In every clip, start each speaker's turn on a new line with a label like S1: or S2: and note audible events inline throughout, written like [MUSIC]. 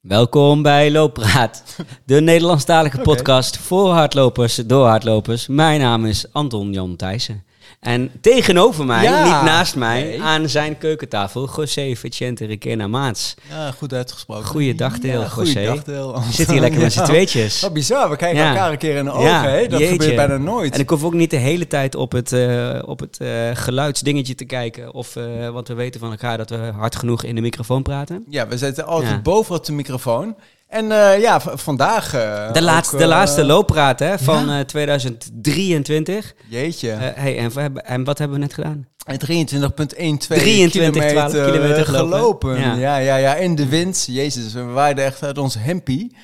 S1: Welkom bij Looppraat, de Nederlandstalige podcast voor hardlopers, door hardlopers. Mijn naam is Anton Jan Thijssen. En tegenover mij,
S2: Ja.
S1: niet naast mij,
S2: Nee.
S1: aan zijn keukentafel, José Vicente Requena Maats.
S3: Ja, goed uitgesproken.
S1: Goeiedag, Deel,
S3: Ja,
S1: José.
S3: goeiedag, Deel.
S1: Je [LAUGHS] zit hier lekker
S2: [LAUGHS]
S1: met z'n
S3: Ja.
S1: tweetjes.
S2: Wat bizar, we kijken
S1: Ja.
S2: elkaar een keer in de ogen.
S1: Ja,
S2: hè? Dat
S1: jeetje.
S2: gebeurt bijna nooit.
S1: En ik hoef ook niet de hele tijd op het, eh, op het eh, geluidsdingetje te kijken. Of, eh, want we weten van elkaar dat we hard genoeg in de microfoon praten.
S2: Ja, we zitten altijd
S1: Ja.
S2: boven op de microfoon. En eh, ja, v- vandaag... eh,
S1: De, laatste,
S2: ook,
S1: de
S2: eh,
S1: laatste looppraat hè, van eh, 2023.
S2: Jeetje. Eh,
S1: Eh, hey, en, we hebben- en wat hebben we net gedaan?
S2: En 23,12
S1: 23,12
S2: kilometer,
S1: kilometer
S2: eh, gelopen.
S1: gelopen. Ja.
S2: Ja. ja, ja, In de wind. Jezus, we waaiden echt uit ons hempie.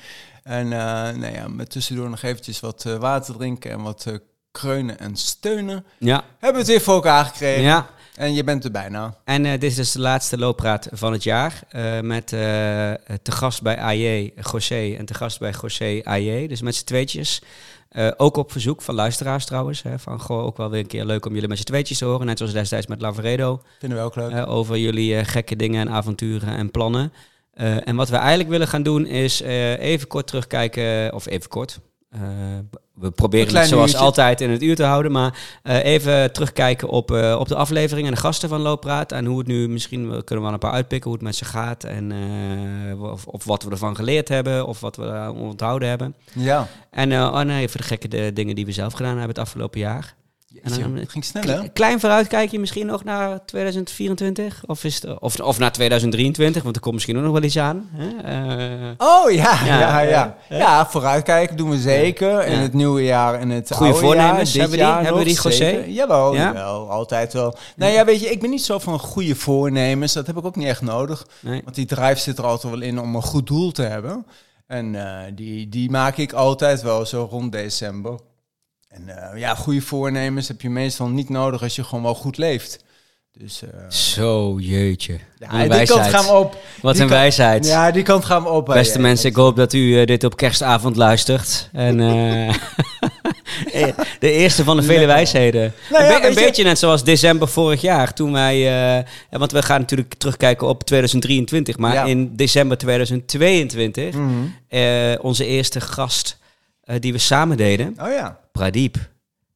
S2: En eh nou ja, met tussendoor nog eventjes wat eh, water drinken en wat eh, kreunen en steunen.
S1: Ja.
S2: Hebben we het weer voor elkaar gekregen.
S1: ja.
S2: En je bent er bijna.
S1: En eh, dit is dus de laatste looppraat van het jaar. eh, met eh te gast bij AJ José en te gast bij José AJ. Dus met z'n tweetjes. Eh, ook op verzoek van luisteraars trouwens. Hè, van goh, ook wel weer een keer leuk om jullie met z'n tweetjes te horen. Net zoals destijds met Lavaredo.
S2: Vinden we ook leuk.
S1: eh, over jullie eh, gekke dingen en avonturen en plannen. Eh, en wat we eigenlijk willen gaan doen is eh, even kort terugkijken, of even kort. Eh, we
S2: Een
S1: proberen het
S2: klein
S1: zoals
S2: uurtje.
S1: altijd in het uur te houden, maar eh, even terugkijken op, eh, op de aflevering en de gasten van Looppraat. En hoe het nu, misschien we- kunnen we wel een paar uitpikken, hoe het met ze gaat. En eh, of, of wat we ervan geleerd hebben, of wat we eh, onthouden hebben.
S2: Ja.
S1: En, eh oh nee, even de gekke de dingen die we zelf gedaan hebben het afgelopen jaar. En dan-
S2: Jeetje, het ging snel, hè?
S1: Kle- Klein vooruitkijkje misschien nog naar 2024? Of, is het, of, of naar 2023, want er komt misschien ook nog wel iets aan. Hè? Eh,
S2: Oh ja,
S1: Ja,
S2: ja, ja. ja.
S1: eh,
S2: vooruitkijken doen we zeker. In
S1: Ja.
S2: het nieuwe jaar en het
S1: Goeie
S2: oude
S1: voornemens,
S2: jaar. dit
S1: hebben we die?
S2: jaar
S1: Hebben we
S2: nog,
S1: die, José?
S2: zeker. Jawel,
S1: Ja?
S2: jawel, altijd wel. Nou ja, weet je, ik ben niet zo van goede voornemens. Dat heb ik ook niet echt nodig.
S1: nee.
S2: Want die drive zit er altijd wel in om een goed doel te hebben. En eh, die, die maak ik altijd wel zo rond december. En eh, ja, goede voornemens heb je meestal niet nodig als je gewoon wel goed leeft. Dus eh
S1: Zo, jeetje.
S2: ja,
S1: Wat een
S2: die kant
S1: wijsheid.
S2: gaan we op.
S1: Wat
S2: die
S1: een
S2: kant-
S1: wijsheid.
S2: Ja, die kant gaan we op. hè.
S1: Beste
S2: Ja,
S1: mensen, ik hoop dat u eh, dit op kerstavond luistert. En, eh, [LAUGHS] de eerste van de vele wijsheden.
S2: Nou
S1: een
S2: ja,
S1: be- een
S2: weet je-
S1: beetje net zoals december vorig jaar. Toen wij, eh, eh, want we gaan natuurlijk terugkijken op 2023. Maar
S2: Ja.
S1: in december 2022,
S2: Mhm.
S1: eh, onze eerste gast eh, die we samen deden,
S2: Oh ja.
S1: Pradeep.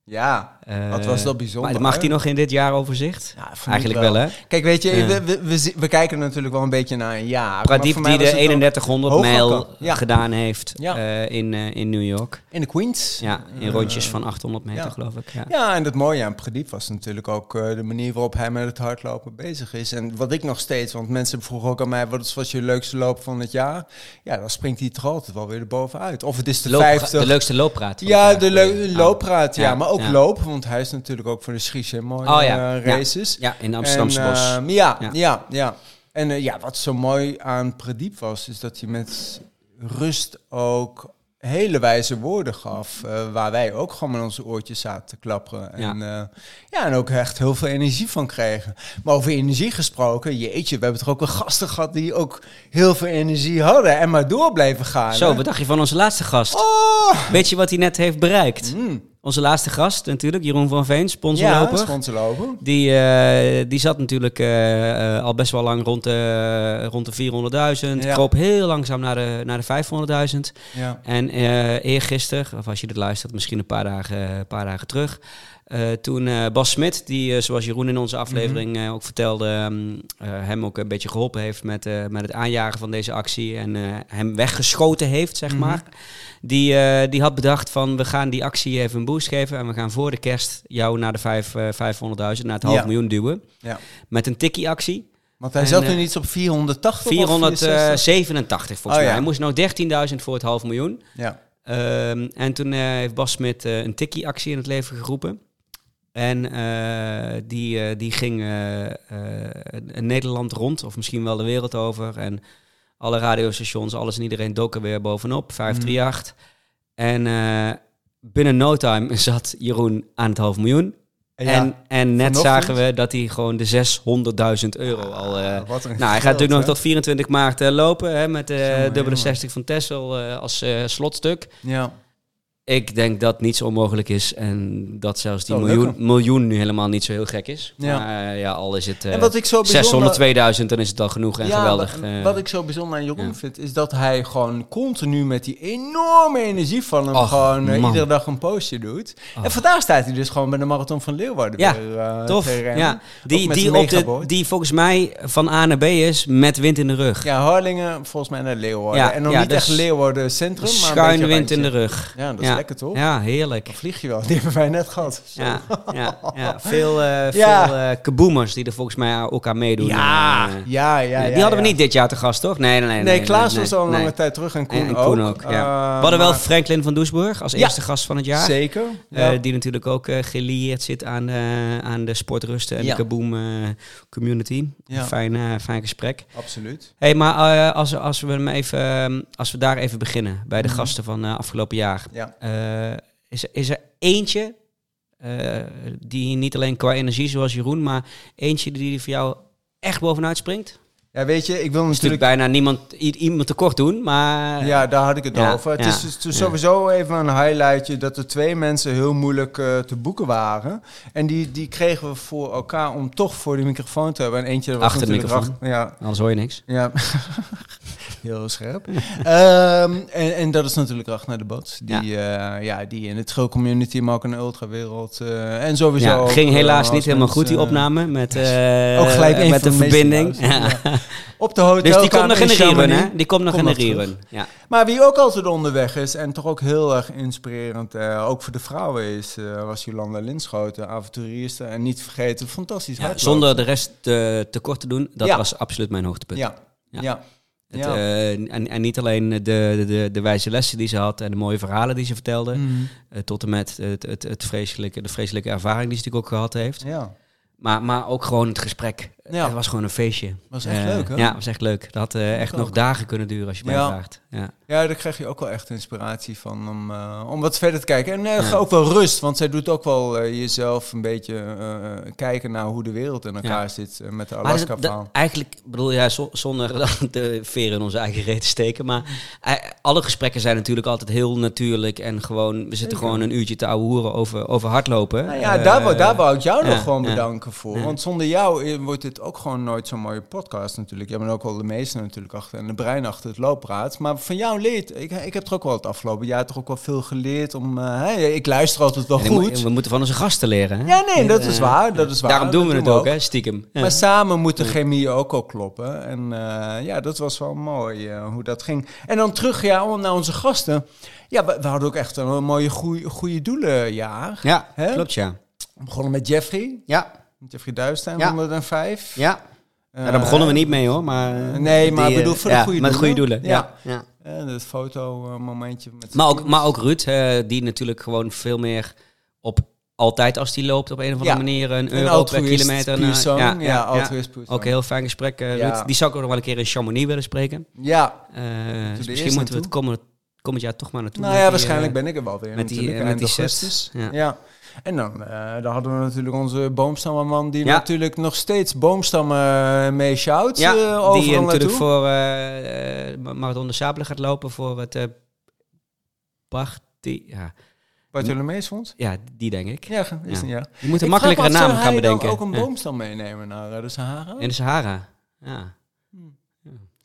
S2: Ja,
S1: Eh,
S2: Wat was dat bijzonder,
S1: maar Mag
S2: hè?
S1: die nog in dit jaaroverzicht?
S2: Ja, voor mij
S1: Eigenlijk wel, hè?
S2: Kijk, weet je,
S1: Ja.
S2: we, we, we, zi- we kijken natuurlijk wel een beetje naar een jaar. maar voor
S1: Pradeep
S2: mij
S1: die de
S2: was het ook
S1: 3100
S2: hoger
S1: mijl
S2: kan. Ja.
S1: gedaan heeft
S2: Ja.
S1: eh, in, eh, in New York.
S2: In de Queens.
S1: Ja, in
S2: Eh,
S1: rondjes van 800 meter,
S2: ja.
S1: geloof ik. Ja.
S2: Ja, en het mooie aan Pradiep was natuurlijk ook eh, de manier waarop hij met het hardlopen bezig is. En wat ik nog steeds, want mensen vroegen ook aan mij, wat is- was je leukste loop van het jaar? Ja, dan springt hij er altijd wel weer erbovenuit. Of het is de
S1: Loopra-
S2: 50.
S1: de leukste looppraat.
S2: ja, de
S1: Oh.
S2: leu- loopraad, ja,
S1: Ja,
S2: maar ook
S1: ja.
S2: loop, want hij is natuurlijk ook voor de Schiesje mooie
S1: Oh, ja.
S2: eh,
S1: Ja.
S2: races.
S1: Ja, in de Amsterdamse
S2: En,
S1: bos.
S2: ehm, ja,
S1: Ja.
S2: ja, ja, En eh, ja, wat zo mooi aan Prediep was, is dat hij met rust ook hele wijze woorden gaf, eh, waar wij ook gewoon met onze oortjes zaten te klapperen. En, ja. ja, en ook echt heel veel energie van kregen. Maar over energie gesproken, jeetje, we hebben toch ook wel gasten gehad die ook heel veel energie hadden en maar door bleven gaan.
S1: Zo,
S2: hè?
S1: wat dacht je van onze laatste gast?
S2: Oh!
S1: Weet je wat hij net heeft bereikt?
S2: Mm.
S1: Onze laatste gast natuurlijk, Jeroen van Veen,
S2: Ja,
S1: sponsorloper.
S2: sponsorlopen.
S1: die, eh, die zat natuurlijk eh, eh, al best wel lang rond de, rond de 400.000.
S2: Ja.
S1: Kroop heel langzaam naar de, naar de 500.000.
S2: Ja.
S1: En eh eergisteren, of als je dit luistert, misschien een paar dagen, een paar dagen terug. eh, toen eh, Bas Smit, die eh, zoals Jeroen in onze
S2: Mhm.
S1: aflevering eh, ook vertelde, ehm, eh, hem ook een beetje geholpen heeft met, eh, met het aanjagen van deze actie. En eh, hem weggeschoten heeft, zeg
S2: Mhm.
S1: maar. Die, eh, die had bedacht van we gaan die actie even een boost geven. En we gaan voor de kerst jou naar de vijf, eh, 500.000, naar het half
S2: Ja.
S1: miljoen duwen.
S2: Ja.
S1: Met een tikkie actie.
S2: Want hij
S1: En,
S2: zat
S1: eh,
S2: nu iets op 480 of 460?
S1: 487 volgens
S2: Oh,
S1: mij.
S2: ja.
S1: Hij moest nou 13.000 voor het half miljoen.
S2: Ja.
S1: Ehm, en toen eh, heeft Bas Smit eh, een tikkie-actie in het leven geroepen. En eh, die, eh, die ging eh, eh, Nederland rond, of misschien wel de wereld over. En alle radiostations, alles en iedereen doken weer bovenop, 538. En eh, binnen no time [LAUGHS] zat Jeroen aan het half miljoen. En, en net
S2: vanochtend-
S1: zagen we dat hij gewoon de 600.000 euro al... eh,
S2: Wat een
S1: nou, hij gaat
S2: geld,
S1: natuurlijk nog
S2: hè?
S1: tot 24 maart eh, lopen hè, met de
S2: Jongen,
S1: dubbele
S2: jongen.
S1: 60 van Tessel eh, als eh, slotstuk.
S2: Ja.
S1: Ik denk dat niets onmogelijk is en dat zelfs die
S2: Zou
S1: miljoen,
S2: lukken.
S1: miljoen nu helemaal niet zo heel gek is.
S2: Oh, Ja.
S1: Maar eh, ja, al is het eh,
S2: En wat ik zo bijzonder-
S1: 600, 2000, dan is het al genoeg en
S2: Ja,
S1: geweldig.
S2: wa-
S1: eh.
S2: Wat ik zo bijzonder aan Jeroen
S1: ja.
S2: vind, is dat hij gewoon continu met die enorme energie van hem
S1: Och,
S2: gewoon eh,
S1: man.
S2: iedere dag een postje doet. En
S1: Och.
S2: vandaag staat hij dus gewoon bij de Marathon van Leeuwarden
S1: Ja,
S2: weer eh,
S1: Tof,
S2: te rennen.
S1: ja. Die,
S2: met
S1: die,
S2: een
S1: op de,
S2: megaboot.
S1: die volgens mij van A naar B is met wind in de rug.
S2: Ja, Harlingen volgens mij naar Leeuwarden.
S1: Ja,
S2: en dan
S1: ja,
S2: niet
S1: dus
S2: echt Leeuwarden centrum, maar een
S1: Schuin
S2: beetje
S1: wind in de
S2: randje.
S1: rug.
S2: Ja, dat is lekker toch?
S1: Ja, heerlijk.
S2: Dan vlieg je wel. [LAUGHS] Die hebben wij net gehad.
S1: Ja, ja, ja. Veel, eh
S2: [LAUGHS] Ja.
S1: veel eh, kaboomers die er volgens mij ook aan meedoen.
S2: ja,
S1: Eh,
S2: ja, ja.
S1: die
S2: ja,
S1: hadden we
S2: ja.
S1: niet dit jaar te gast, toch? Nee, nee, nee.
S2: Nee, Klaas
S1: nee,
S2: was al een
S1: nee.
S2: lange tijd terug en Koen
S1: En, en
S2: ook.
S1: Koen ook, ja.
S2: Eh,
S1: we hadden wel
S2: maar-
S1: Franklin van Doesburg als
S2: Ja.
S1: eerste gast van het jaar.
S2: Zeker.
S1: Eh,
S2: ja.
S1: die natuurlijk ook eh gelieerd zit aan, de- aan de sportrusten en
S2: Ja.
S1: de Kaboom eh, community.
S2: Ja.
S1: Fijn, eh, fijn gesprek.
S2: Absoluut.
S1: Hey, maar eh, als, als, we hem even, ehm, als we daar even beginnen, bij de
S2: Mhm.
S1: gasten van eh, afgelopen jaar.
S2: Ja.
S1: Eh, is, er- is er eentje, eh, die niet alleen qua energie zoals Jeroen, maar eentje die voor jou echt bovenuit springt? Is
S2: ja, weet je, ik wil
S1: natuurlijk
S2: natuurlijk...
S1: bijna niemand, i- iemand tekort doen, maar...
S2: Ja, daar had ik het
S1: Ja,
S2: over. Het
S1: ja,
S2: is dus- dus
S1: ja.
S2: sowieso even een highlightje dat er twee mensen heel moeilijk eh, te boeken waren. En die, die kregen we voor elkaar om toch voor de microfoon te hebben. En eentje dat was
S1: Achter de
S2: natuurlijk
S1: microfoon.
S2: achter- ja,
S1: Anders hoor je niks.
S2: Ja, [LAUGHS] heel scherp. Ehm, en, en dat is natuurlijk Ragnar de Bats. Die, eh, ja, die in de trail community, maar ook in de ultrawereld. eh en sowieso.
S1: Ja,
S2: ook,
S1: ging
S2: eh,
S1: helaas
S2: als
S1: niet helemaal goed, die
S2: mensen,
S1: opname, met, eh,
S2: Ook gelijk een
S1: met
S2: van
S1: de
S2: meeste
S1: verbinding.
S2: trouwens.
S1: Ja.
S2: eh, Op de hotel.
S1: Dus die komt nog in de rerun, hè? Die komt nog
S2: Kom
S1: in de
S2: nog terug.
S1: rerun. Ja.
S2: Maar wie ook altijd onderweg is en toch ook heel erg inspirerend, eh, ook voor de vrouwen is, eh, was Jolanda Linschoten, avonturierste. En niet vergeten, fantastisch
S1: Ja,
S2: hardlopen.
S1: zonder de rest eh, tekort te doen, dat
S2: Ja.
S1: was absoluut mijn hoogtepunt.
S2: Ja,
S1: Ja.
S2: ja.
S1: Het,
S2: Ja.
S1: eh, en, en niet alleen de, de, de, de wijze lessen die ze had en de mooie verhalen die ze vertelde,
S2: Mhm.
S1: eh, tot en met het, het, het vreselijke, de vreselijke ervaring die ze natuurlijk ook gehad heeft,
S2: ja.
S1: maar, maar ook gewoon het gesprek.
S2: Ja.
S1: Het was gewoon een feestje.
S2: Was echt
S1: Eh,
S2: leuk, hè?
S1: Ja, was echt leuk. Dat had eh, echt
S2: ook.
S1: nog dagen kunnen duren als je mij
S2: Ja.
S1: vraagt. Ja.
S2: Ja, daar krijg je ook wel echt inspiratie van om, eh, om wat verder te kijken. En eh,
S1: Ja.
S2: ook wel rust, want zij doet ook wel eh, jezelf een beetje eh, kijken naar hoe de wereld in elkaar
S1: Ja.
S2: zit eh, met de
S1: Maar dat- dat-
S2: Alaska-verhaal.
S1: eigenlijk, ik bedoel, ja, zo- zonder [LAUGHS] dan de veren in onze eigen reet te steken. Maar eh, alle gesprekken zijn natuurlijk altijd heel natuurlijk. En gewoon, we zitten gewoon een uurtje te ouwehoeren over, over hardlopen.
S2: Nou ja,
S1: Eh,
S2: daar, wou, daar wou ik jou
S1: ja,
S2: nog gewoon
S1: ja.
S2: bedanken voor.
S1: Ja.
S2: Want zonder jou eh, wordt dit ook gewoon nooit zo'n mooie podcast natuurlijk. Jij bent ook wel de meester natuurlijk achter en de brein achter het looppraat. Maar van jou leert, ik, ik heb er ook wel het afgelopen jaar toch ook wel veel geleerd om... eh, hè, ik luister altijd wel
S1: Eh, en dan moet-
S2: goed.
S1: We moeten van onze gasten leren. Hè?
S2: Ja, nee, dat
S1: Eh,
S2: is waar, dat is waar.
S1: Daarom doen we het
S2: we
S1: ook, hè, stiekem. Ja.
S2: Maar samen moet de chemie ook al kloppen. En eh, ja, dat was wel mooi eh, hoe dat ging. En dan terug ja, om naar onze gasten. Ja, we, we hadden ook echt een mooie goeie- goede doelenjaar.
S1: Ja,
S2: Hè?
S1: klopt ja.
S2: We begonnen met Jeffrey.
S1: Ja,
S2: Jeffrey Duistein,
S1: Ja.
S2: 105.
S1: ja.
S2: Eh,
S1: Nou, daar begonnen we niet mee hoor, maar... eh,
S2: Nee, maar
S1: die,
S2: bedoel,
S1: eh,
S2: voor de
S1: ja,
S2: goede
S1: met goede
S2: doelen.
S1: doelen. Ja. Ja.
S2: eh, dat fotomomentje. Met
S1: Maar, ook, maar ook Ruud, eh, die natuurlijk gewoon veel meer op... Altijd als die loopt op een of andere
S2: Ja.
S1: manier een
S2: een
S1: euro per
S2: altruïst
S1: kilometer. en, eh,
S2: persoon. ja,
S1: ja.
S2: altruïst persoon.
S1: Ook een heel fijn gesprek, eh,
S2: Ja.
S1: Ruud. Die zou ik ook nog wel een keer in Chamonix willen spreken.
S2: Ja,
S1: Eh, dus
S2: eerst
S1: misschien moeten we het
S2: naartoe?
S1: komend, komend jaar toch maar naartoe.
S2: nou
S1: Met
S2: ja,
S1: die,
S2: waarschijnlijk
S1: eh,
S2: ben ik er wel weer.
S1: met die,
S2: natuurlijk,
S1: eh, met
S2: eind
S1: die sets.
S2: augustus.
S1: Ja.
S2: Ja. En dan, eh, dan hadden we natuurlijk onze boomstammenman... die
S1: Ja.
S2: natuurlijk nog steeds boomstammen mee sjouwt.
S1: ja,
S2: eh, overal
S1: die eh, natuurlijk
S2: naartoe.
S1: voor eh eh, Marathon de Sabelen gaat lopen voor het eh Barti- Ja,
S2: Bartholomeusfonds?
S1: ja, die denk ik.
S2: Ja, ge- is
S1: Ja.
S2: een ja.
S1: Je moet een
S2: Ik
S1: makkelijkere
S2: vraag me af,
S1: naam
S2: zou
S1: gaan
S2: hij
S1: bedenken.
S2: dan ook een
S1: Ja.
S2: boomstam meenemen naar eh, de Sahara?
S1: In de Sahara. Ja.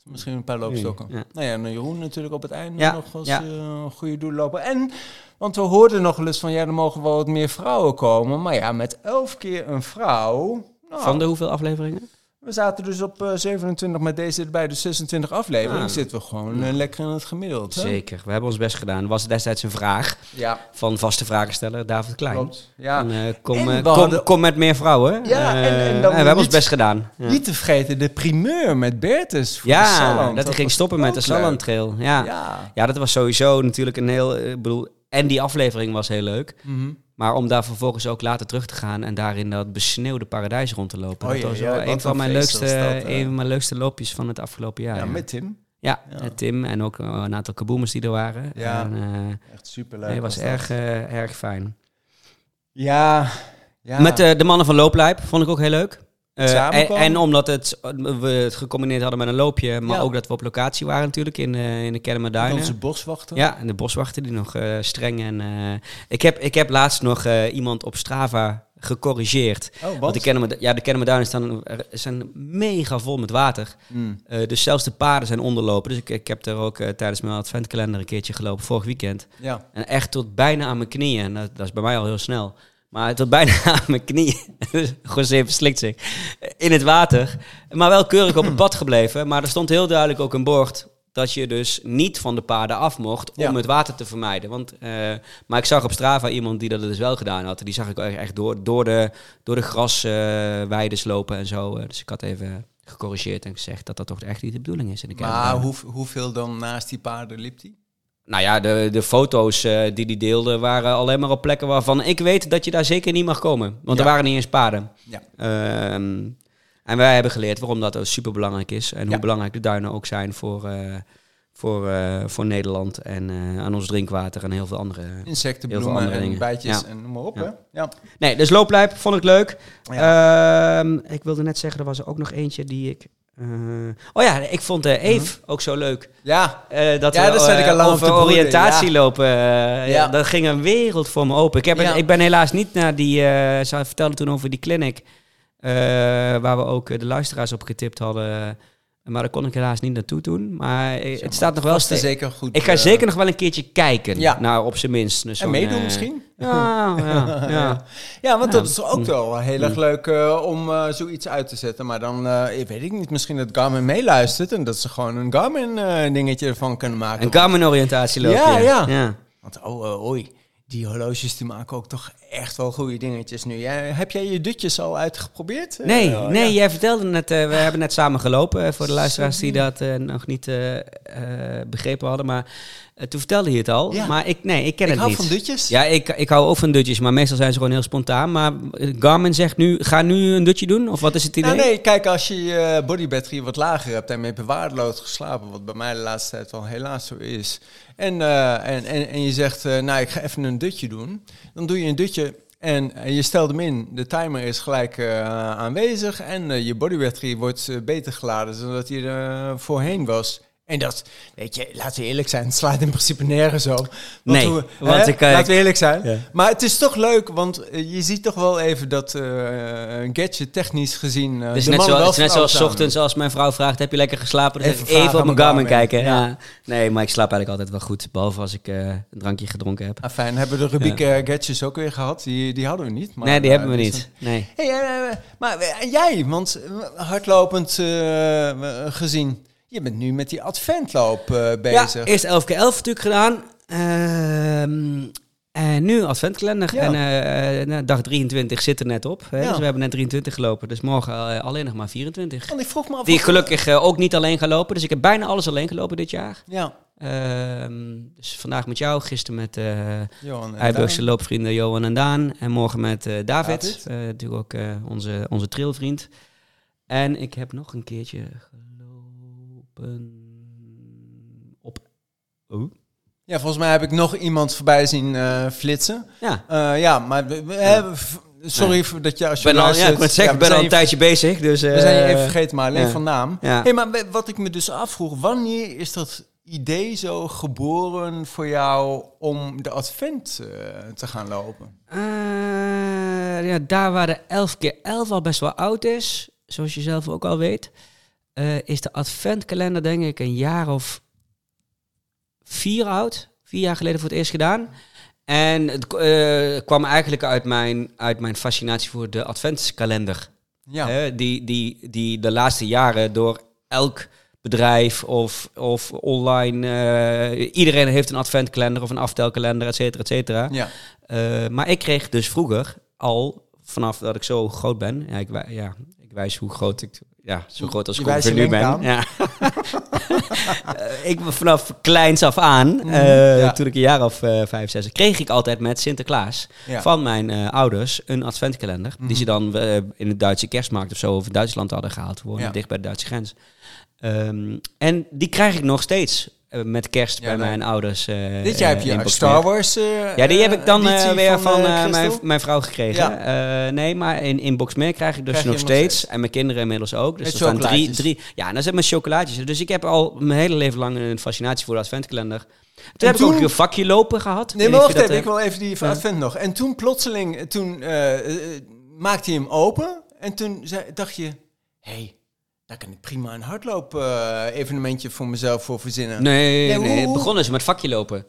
S2: Misschien een paar loopstokken.
S1: Ja.
S2: Nou ja, en dan Jeroen natuurlijk op het einde
S1: Ja,
S2: nog als
S1: ja.
S2: eh, een goede doel lopen. En, want we hoorden nog wel eens van... ja, er mogen wel wat meer vrouwen komen. Maar ja, met elf keer een vrouw... nou,
S1: Van de hoeveel afleveringen?
S2: We zaten dus op eh, 27 met deze erbij, dus 26 aflevering.
S1: Ah.
S2: Zitten we gewoon eh, lekker in het gemiddeld. Hè?
S1: Zeker. We hebben ons best gedaan. Was destijds een vraag
S2: Ja,
S1: van vaste vragensteller David Klein.
S2: klopt. Ja.
S1: En, eh, kom,
S2: En
S1: eh,
S2: we
S1: kom,
S2: hadden-
S1: kom met meer vrouwen.
S2: Ja,
S1: Eh,
S2: en- en dan
S1: we hebben ons
S2: niet-
S1: best gedaan. Ja,
S2: Niet te vergeten de primeur met Bertus. Voor de
S1: Ja,
S2: Salland.
S1: dat hij ging
S2: was
S1: stoppen met de
S2: ook
S1: Salland
S2: leuk.
S1: Trail. Ja. Ja.
S2: Ja.
S1: dat was sowieso natuurlijk een heel... eh, Ik bedoel, en die aflevering was heel leuk.
S2: Mhm.
S1: Maar om daar vervolgens ook later terug te gaan en daar in dat besneeuwde paradijs rond te lopen.
S2: Oh
S1: dat
S2: ja,
S1: was
S2: ja,
S1: wel
S2: wat
S1: een van
S2: een
S1: mijn
S2: feest
S1: leukste,
S2: was dat, hè?
S1: een van mijn leukste loopjes van het afgelopen jaar.
S2: ja,
S1: ja.
S2: met Tim.
S1: Ja,
S2: Ja.
S1: eh, Tim en ook eh, een aantal kaboomers die er waren.
S2: Ja.
S1: En, eh,
S2: Echt superleuk.
S1: nee, het was
S2: dat.
S1: erg, eh, erg fijn.
S2: Ja, ja.
S1: eh, Met eh, de mannen van Looplijp vond ik ook heel leuk. Uh, en, en, omdat het, we het gecombineerd hadden met een loopje, maar ja. ook dat we op locatie waren natuurlijk in, uh, in de Kermer Duinen.
S2: Onze boswachter.
S1: Ja, en de boswachter die nog uh, streng en... ik, heb, ik heb laatst nog eh, iemand op Strava gecorrigeerd.
S2: Oh, wat? Want
S1: de Kermer, ja, de Kermerduinen staan, zijn mega vol met water.
S2: Hmm.
S1: Mm. dus zelfs de paarden zijn onderlopen. Dus ik, ik heb er ook tijdens mijn adventkalender een keertje gelopen, vorig weekend.
S2: Ja.
S1: En echt tot bijna aan mijn knieën. En dat, dat is bij mij al heel snel. Maar tot bijna [LAUGHS] aan mijn knieën. José verslikt zich. In het water. Maar wel keurig op het pad gebleven. Maar er stond heel duidelijk ook een bord. Dat je dus niet van de paarden af mocht om ja. het water te vermijden. Want, uh, maar ik zag op Strava iemand die dat dus wel gedaan had. Die zag ik echt door, door de, door de grasweides uh, lopen en zo. dus ik had even gecorrigeerd en gezegd dat dat toch echt niet de bedoeling is. In de
S2: maar hoe, hoeveel dan naast die paarden liep die?
S1: Nou ja, de, de foto's uh, die die deelde waren alleen maar op plekken waarvan ik weet dat je daar zeker niet mag komen. Want ja. er waren niet eens paden.
S2: Ja.
S1: Uh, en wij hebben geleerd waarom dat super belangrijk is. En ja. hoe belangrijk de duinen ook zijn voor, uh, voor, eh, voor Nederland en aan ons drinkwater en heel veel andere
S2: Insecten, veel bloemen andere en bijtjes en noem maar op. Hè? Ja.
S1: Nee, dus looplijp vond ik leuk. Ehm, ik wilde net zeggen, er was er ook nog eentje die ik uh, oh ja, ik vond uh, Eve uh -huh. ook zo leuk.
S2: Ja,
S1: Eh, dat
S2: ja,
S1: we
S2: zat ik al
S1: over oriëntatie ja. lopen. eh, Ja. ja. dat ging een wereld voor me open. Ik, heb een, ik ben helaas niet naar die... ze vertelde toen over die clinic... eh, waar we ook eh, de luisteraars op getipt hadden... Maar daar kon ik helaas niet naartoe doen. Maar zeg maar het staat nog wel
S2: steeds. zeker goed.
S1: Ik ga uh, zeker nog wel een keertje kijken. Ja. Naar op zijn minst. eh,
S2: Dus en meedoen uh, misschien?
S1: Ja,
S2: [LAUGHS]
S1: ja, ja.
S2: ja want dat is ook wel heel erg leuk uh, om zoiets uit te zetten. Maar dan, eh, ik weet ik niet, misschien dat Garmin meeluistert. En dat ze gewoon een Garmin eh, dingetje ervan kunnen maken.
S1: Een Garmin oriëntatie lopen.
S2: Ja, ja. Want oh, oei. Die horloges die maken ook toch echt wel goede dingetjes nu. Jij, heb jij je dutjes al uitgeprobeerd? Eh, oh,
S1: Nee, uh, nee ja. jij vertelde net, uh, we hebben net samen gelopen. Uh, voor de luisteraars die dat eh, nog niet eh, begrepen hadden. Maar eh, toen vertelde je het al. Ja. Maar ik, nee, ik ken
S2: ik
S1: het niet.
S2: Ik hou van dutjes.
S1: Ja, ik, ik hou ook van dutjes. Maar meestal zijn ze gewoon heel spontaan. Maar eh, Garmin zegt nu, ga nu een dutje doen? Of wat is het idee?
S2: Nou, nee, kijk, als je je bodybattery wat lager hebt en mee bewaardloos geslapen. Wat bij mij de laatste tijd wel helaas zo is. En, eh, en, en, en je zegt, nou, ik ga even een dutje doen. Dan doe je een dutje en je stelt hem in, de timer is gelijk uh, aanwezig en uh, je bodybattery wordt uh, beter geladen dan dat hij er eh, voorheen was. En dat, weet je, laten we eerlijk zijn, het slaat in principe nergens op.
S1: Want nee, hoe, want ik,
S2: laten we eerlijk zijn. Ja. Maar het is toch leuk, want eh, je ziet toch wel even dat eh, een gadget technisch gezien... eh,
S1: het is net, zo, het is net zoals ochtends als mijn vrouw vraagt, heb je lekker geslapen? Dan even, even op mijn Garmin kijken. Ja. ja. Nee, maar ik slaap eigenlijk altijd wel goed, behalve als ik eh, een drankje gedronken heb.
S2: Ah, fijn, hebben we de rubriek ja. gadgets ook weer gehad? Die, die hadden we niet. eh,
S1: Maar, nee, die uh, hebben we dus niet. Nee.
S2: Hey, eh, maar en jij, want eh, hardlopend uh, gezien... Je bent nu met die adventloop uh, bezig.
S1: Ja, eerst 11 keer 11 natuurlijk gedaan. Uh, en nu adventkalender. Ja. En uh, dag 23 zit er net op. Hè? Ja. Dus we hebben net 23 gelopen. Dus morgen alleen nog maar 24.
S2: En ik vroeg me af...
S1: Die ik gelukkig eh, ook niet alleen ga lopen. Dus ik heb bijna alles alleen gelopen dit jaar.
S2: Ja.
S1: dus vandaag met jou, gisteren met eh,
S2: Eh,
S1: Eiburgse loopvrienden Johan en Daan. En morgen met eh, David, David. natuurlijk ook eh, onze, onze trailvriend. En ik heb nog een keertje op.
S2: Oh. Ja, volgens mij heb ik nog iemand voorbij zien uh, flitsen.
S1: Ja.
S2: Uh, ja, maar we, we ja. Hebben, Sorry nee. dat je als je
S1: ben al, ja, ik moet zeggen, ja, ben al een tijdje bezig. Dus,
S2: uh, we zijn je even vergeten, maar alleen ja. van naam.
S1: Ja.
S2: Hey, maar wat ik me dus afvroeg, wanneer is dat idee zo geboren voor jou om de advent uh, te gaan lopen?
S1: Eh, ja, daar waar de 11 keer 11 al best wel oud is, zoals je zelf ook al weet. Uh, is de adventkalender denk ik een jaar of vier oud. Vier jaar geleden voor het eerst gedaan. En het uh, kwam eigenlijk uit mijn, uit mijn fascinatie voor de adventskalender.
S2: Ja.
S1: Uh, die, die, die de laatste jaren door elk bedrijf of, of online... eh, iedereen heeft een adventkalender of een aftelkalender, et cetera, et cetera.
S2: Ja.
S1: maar ik kreeg dus vroeger al, vanaf dat ik zo groot ben... Ja, ik, ja, ik wijs hoe groot ik ja, zo groot als ik nu ben. Ja. [LAUGHS] ik vanaf kleins af aan, mm, uh, ja. toen ik een jaar of uh, vijf, zes, kreeg ik altijd met Sinterklaas ja. van mijn uh, ouders een adventkalender. Mm -hmm.
S2: Mhm.
S1: Die ze dan in de Duitse kerstmarkt of zo over Duitsland hadden gehaald. We wonen dicht bij de Duitse grens. Um, en die Ehm, krijg ik nog steeds. met kerst
S2: Ja,
S1: bij
S2: leuk.
S1: mijn ouders. eh,
S2: Dit jaar heb
S1: eh,
S2: je
S1: inbox
S2: Star
S1: mail.
S2: Wars. eh,
S1: Ja, die heb ik dan eh,
S2: editie
S1: weer van, eh,
S2: eh,
S1: mijn,
S2: Christel.
S1: mijn vrouw gekregen. Eh, nee, maar in inbox meer krijg ik dus
S2: Krijg je
S1: nog
S2: nog
S1: steeds.
S2: steeds.
S1: En mijn kinderen inmiddels ook. Dus
S2: Met
S1: er staan drie,
S2: chocolaatjes.
S1: drie. Ja, en dan zit mijn chocolaatjes. Dus ik heb al mijn hele leven lang een fascinatie voor de adventkalender. Toen, heb ik
S2: toen-
S1: ook een vakje lopen gehad.
S2: Nee,
S1: Weet
S2: maar
S1: niet
S2: wacht
S1: of je dat,
S2: even, ik
S1: eh,
S2: wil even die van
S1: ja.
S2: Advent nog. En toen plotseling, eh, toen eh, eh, maakte hij hem open. En toen zei, dacht je, hé, hey, daar kan ik prima een hardloop-evenementje voor mezelf voor verzinnen.
S1: Nee,
S2: Nee,
S1: nee,
S2: hoe-
S1: het begon dus met vakje lopen.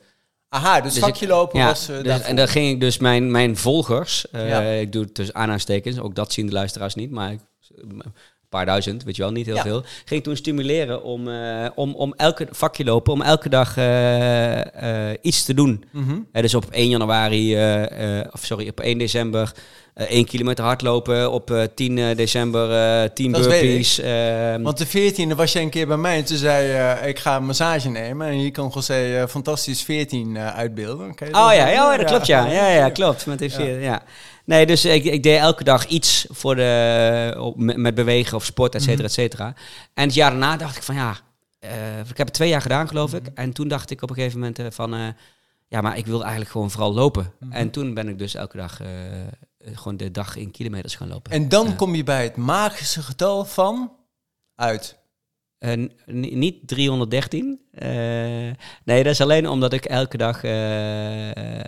S2: Aha, dus,
S1: Dus
S2: vakje
S1: ik-
S2: lopen
S1: Ja,
S2: was... eh,
S1: dus,
S2: daarvoor.
S1: en dan ging ik dus mijn, mijn volgers, eh,
S2: Ja.
S1: ik doe het tussen aanhalingstekens, ook dat zien de luisteraars niet, maar ik- een paar duizend, weet je wel, niet heel
S2: Ja.
S1: veel. Ging ik toen stimuleren om, eh, om, om elke vakje lopen, om elke dag eh, eh, iets te doen.
S2: Mhm.
S1: Hè, dus op 1 januari, eh, eh, of sorry, op 1 december eh 1 kilometer hardlopen. Op eh, 10 december eh 10
S2: Dat weet ik.
S1: burpees. ehm,
S2: Want de 14e was jij een keer bij mij en toen zei je, eh, ik ga een massage nemen. En hier kan José eh, fantastisch 14 eh, uitbeelden. Kan je
S1: Oh ja,
S2: doen?
S1: ja, ja, dat klopt ja. Ja, ja, klopt. Met FC, ja. Nee, dus ik, ik deed elke dag iets voor de, op- met, met bewegen of sport, et cetera, et cetera. En het jaar daarna dacht ik van ja, eh, ik heb het twee jaar gedaan geloof ik. En toen dacht ik op een gegeven moment eh, van eh, ja, maar ik wil eigenlijk gewoon vooral lopen. En toen ben ik dus elke dag eh, gewoon de dag in kilometers gaan lopen.
S2: En dan
S1: Ja.
S2: kom je bij het magische getal van... Uit.
S1: En Eh, ni- niet 313. eh, nee, dat is alleen omdat ik elke dag eh, eh,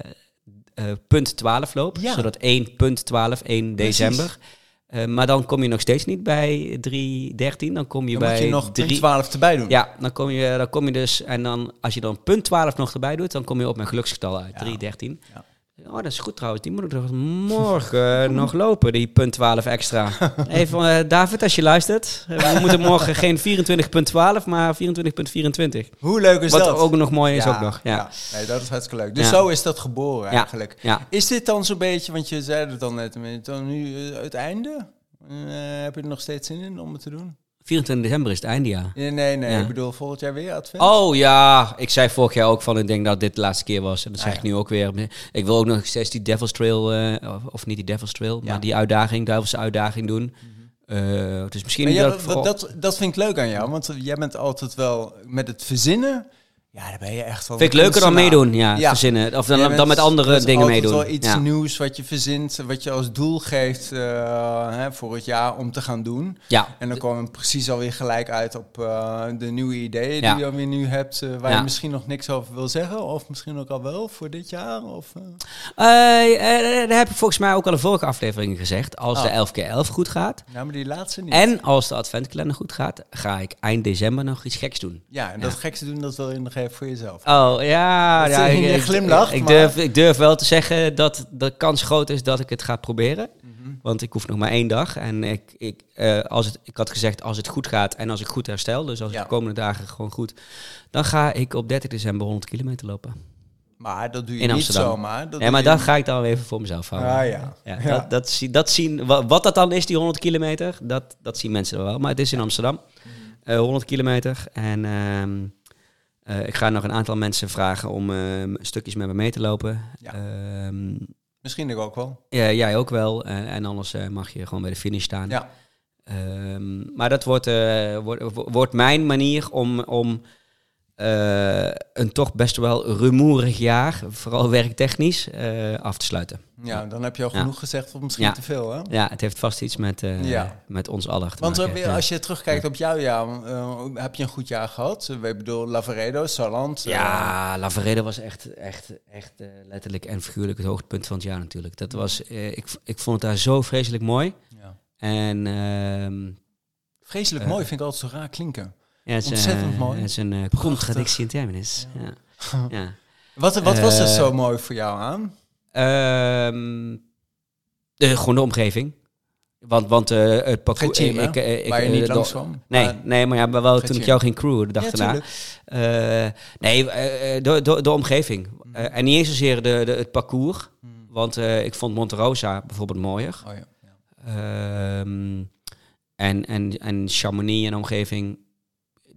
S1: punt 12 loop.
S2: Ja.
S1: Zodat 1 punt 12, 1
S2: Precies.
S1: december. Eh, maar dan kom je nog steeds niet bij 313. Dan kom je
S2: Dan
S1: bij
S2: moet je nog
S1: drie-
S2: punt 12 erbij doen.
S1: Ja, dan kom, je, dan kom je dus... En dan, als je dan punt 12 nog erbij doet, dan kom je op mijn geluksgetal uit.
S2: Ja.
S1: 313.
S2: Ja.
S1: Oh, dat is goed trouwens. Die moet ik toch morgen [LAUGHS] nog lopen, die punt 12
S2: [LAUGHS]
S1: extra. Even, eh, David, als je luistert. eh, We moeten morgen geen 24.12, maar 24.24.
S2: Hoe leuk is
S1: Wat
S2: dat?
S1: ook nog mooi is ook nog. Ja.
S2: ja. Nee, dat is hartstikke leuk. Dus
S1: Ja.
S2: zo is dat geboren
S1: Ja.
S2: eigenlijk.
S1: Ja.
S2: Is dit dan zo'n beetje, want je zei het al net, maar is dan nu eh, het einde? Eh, heb je er nog steeds zin in om het te doen?
S1: 24 december is het eindjaar.
S2: Nee, nee, nee.
S1: Ja.
S2: Ik bedoel, volgend jaar weer advent?
S1: [LAUGHS] Oh ja, ik zei vorig jaar ook van ik denk dat dit de laatste keer was. En dat zeg
S2: Ah,
S1: ik nu ook weer. Ik wil ook nog steeds die Devil's Trail, eh, of, of niet die Devil's Trail,
S2: Ja. Mhm.
S1: maar die uitdaging, Duivelse uitdaging doen. Eh, dus misschien
S2: Maar ja,
S1: dat ik
S2: dat,
S1: voor-
S2: dat, dat vind ik leuk aan jou, want jij bent altijd wel met het verzinnen. Ja, daar ben je echt wel.
S1: Vind ik
S2: een
S1: leuker dan
S2: kunstenaar.
S1: meedoen, ja.
S2: Ja.
S1: Verzinnen. Of dan,
S2: Jij bent-
S1: dan met andere
S2: dat is
S1: dingen
S2: altijd
S1: meedoen.
S2: wel iets
S1: ja.
S2: nieuws wat je verzint, wat je als doel geeft eh, hè, voor het jaar om te gaan doen.
S1: ja.
S2: En dan komen we precies alweer gelijk uit op eh, de nieuwe ideeën
S1: Ja.
S2: die je alweer nu hebt, eh, waar
S1: Ja.
S2: je misschien nog niks over wil zeggen, of misschien ook al wel voor dit jaar. Of, eh.
S1: Eh, eh, dat heb ik volgens mij ook al in vorige afleveringen gezegd. Als
S2: Oh.
S1: de 11 keer 11 goed gaat
S2: Nou, maar die laatste niet.
S1: en als de adventkalender goed gaat, ga ik eind december nog iets geks doen.
S2: ja, en dat gekste doen, dat wil je nog even voor jezelf.
S1: Oh ja,
S2: Dat
S1: ja,
S2: zie je in je
S1: ik, ik-
S2: glimlach,
S1: Ik,
S2: maar-
S1: durf, ik durf wel te zeggen dat de kans groot is dat ik het ga proberen.
S2: Mhm.
S1: Want ik hoef nog maar één dag. En ik, ik, eh, als het, ik had gezegd, als het goed gaat en als ik goed herstel, dus als
S2: Ja.
S1: ik de komende dagen gewoon goed, dan ga ik op 30 december 100 kilometer lopen.
S2: Maar dat doe je
S1: In
S2: niet
S1: Amsterdam.
S2: zomaar. Dat
S1: Nee, maar
S2: doe je-
S1: dat ga ik dan even voor mezelf houden.
S2: Ah ja.
S1: Oh, Ja,
S2: Ja.
S1: Dat, dat, zie- dat zien, wa- wat dat dan is, die 100 kilometer, dat, dat zien mensen wel. Maar het is in Amsterdam,
S2: Mhm.
S1: Eh, 100 kilometer. En ehm, eh, ik ga nog een aantal mensen vragen om ehm, stukjes met me mee te lopen.
S2: Ja.
S1: Ehm,
S2: Misschien ik ook wel.
S1: ja, jij ook wel. En, en anders eh, mag je gewoon bij de finish staan.
S2: Ja.
S1: Ehm, maar dat wordt, eh, wordt, wordt mijn manier om, om eh, een toch best wel rumoerig jaar, vooral werktechnisch, eh, af te sluiten.
S2: ja, dan heb je al
S1: Ja.
S2: genoeg gezegd, of misschien
S1: Ja.
S2: te veel. Hè?
S1: Ja, het heeft vast iets met, eh,
S2: Ja.
S1: met ons allen te
S2: Want
S1: maken.
S2: eh,
S1: Ja.
S2: als je terugkijkt op jouw jaar, eh, heb je een goed jaar gehad? Eh, Ik bedoel, Lavaredo, Saland. eh,
S1: Ja, Lavaredo was echt, echt, echt eh, letterlijk en figuurlijk het hoogtepunt van het jaar natuurlijk. Dat was, eh, ik, v- ik vond het daar zo vreselijk mooi.
S2: ja.
S1: En ehm,
S2: Vreselijk
S1: Eh.
S2: mooi, vind ik altijd zo raar klinken. [LAUGHS]
S1: ja, het is,
S2: Ontzettend
S1: eh,
S2: mooi.
S1: Het is een eh, contradictie in terminus. Ja. ja.
S2: Wat, wat was er
S1: Eh.
S2: zo mooi voor jou aan?
S1: Ehm, de, gewoon de omgeving. Want, want eh, het
S2: Geen
S1: parcours...
S2: team, hè?
S1: eh,
S2: waar je
S1: eh,
S2: niet
S1: de-
S2: langs kwam.
S1: Nee,
S2: Maar-
S1: nee, maar ja, maar wel toen ik
S2: team.
S1: jou ging crewen de dag
S2: Ja,
S1: daarna.
S2: tuurlijk.
S1: Eh, nee, eh, eh, de, de, de omgeving.
S2: Mm.
S1: Eh, en niet eens zozeer de, de, het parcours.
S2: Hmm.
S1: Want eh, ik vond Monte Rosa bijvoorbeeld mooier.
S2: Oh, ja. Ja.
S1: Ehm, en, en, en Chamonix en omgeving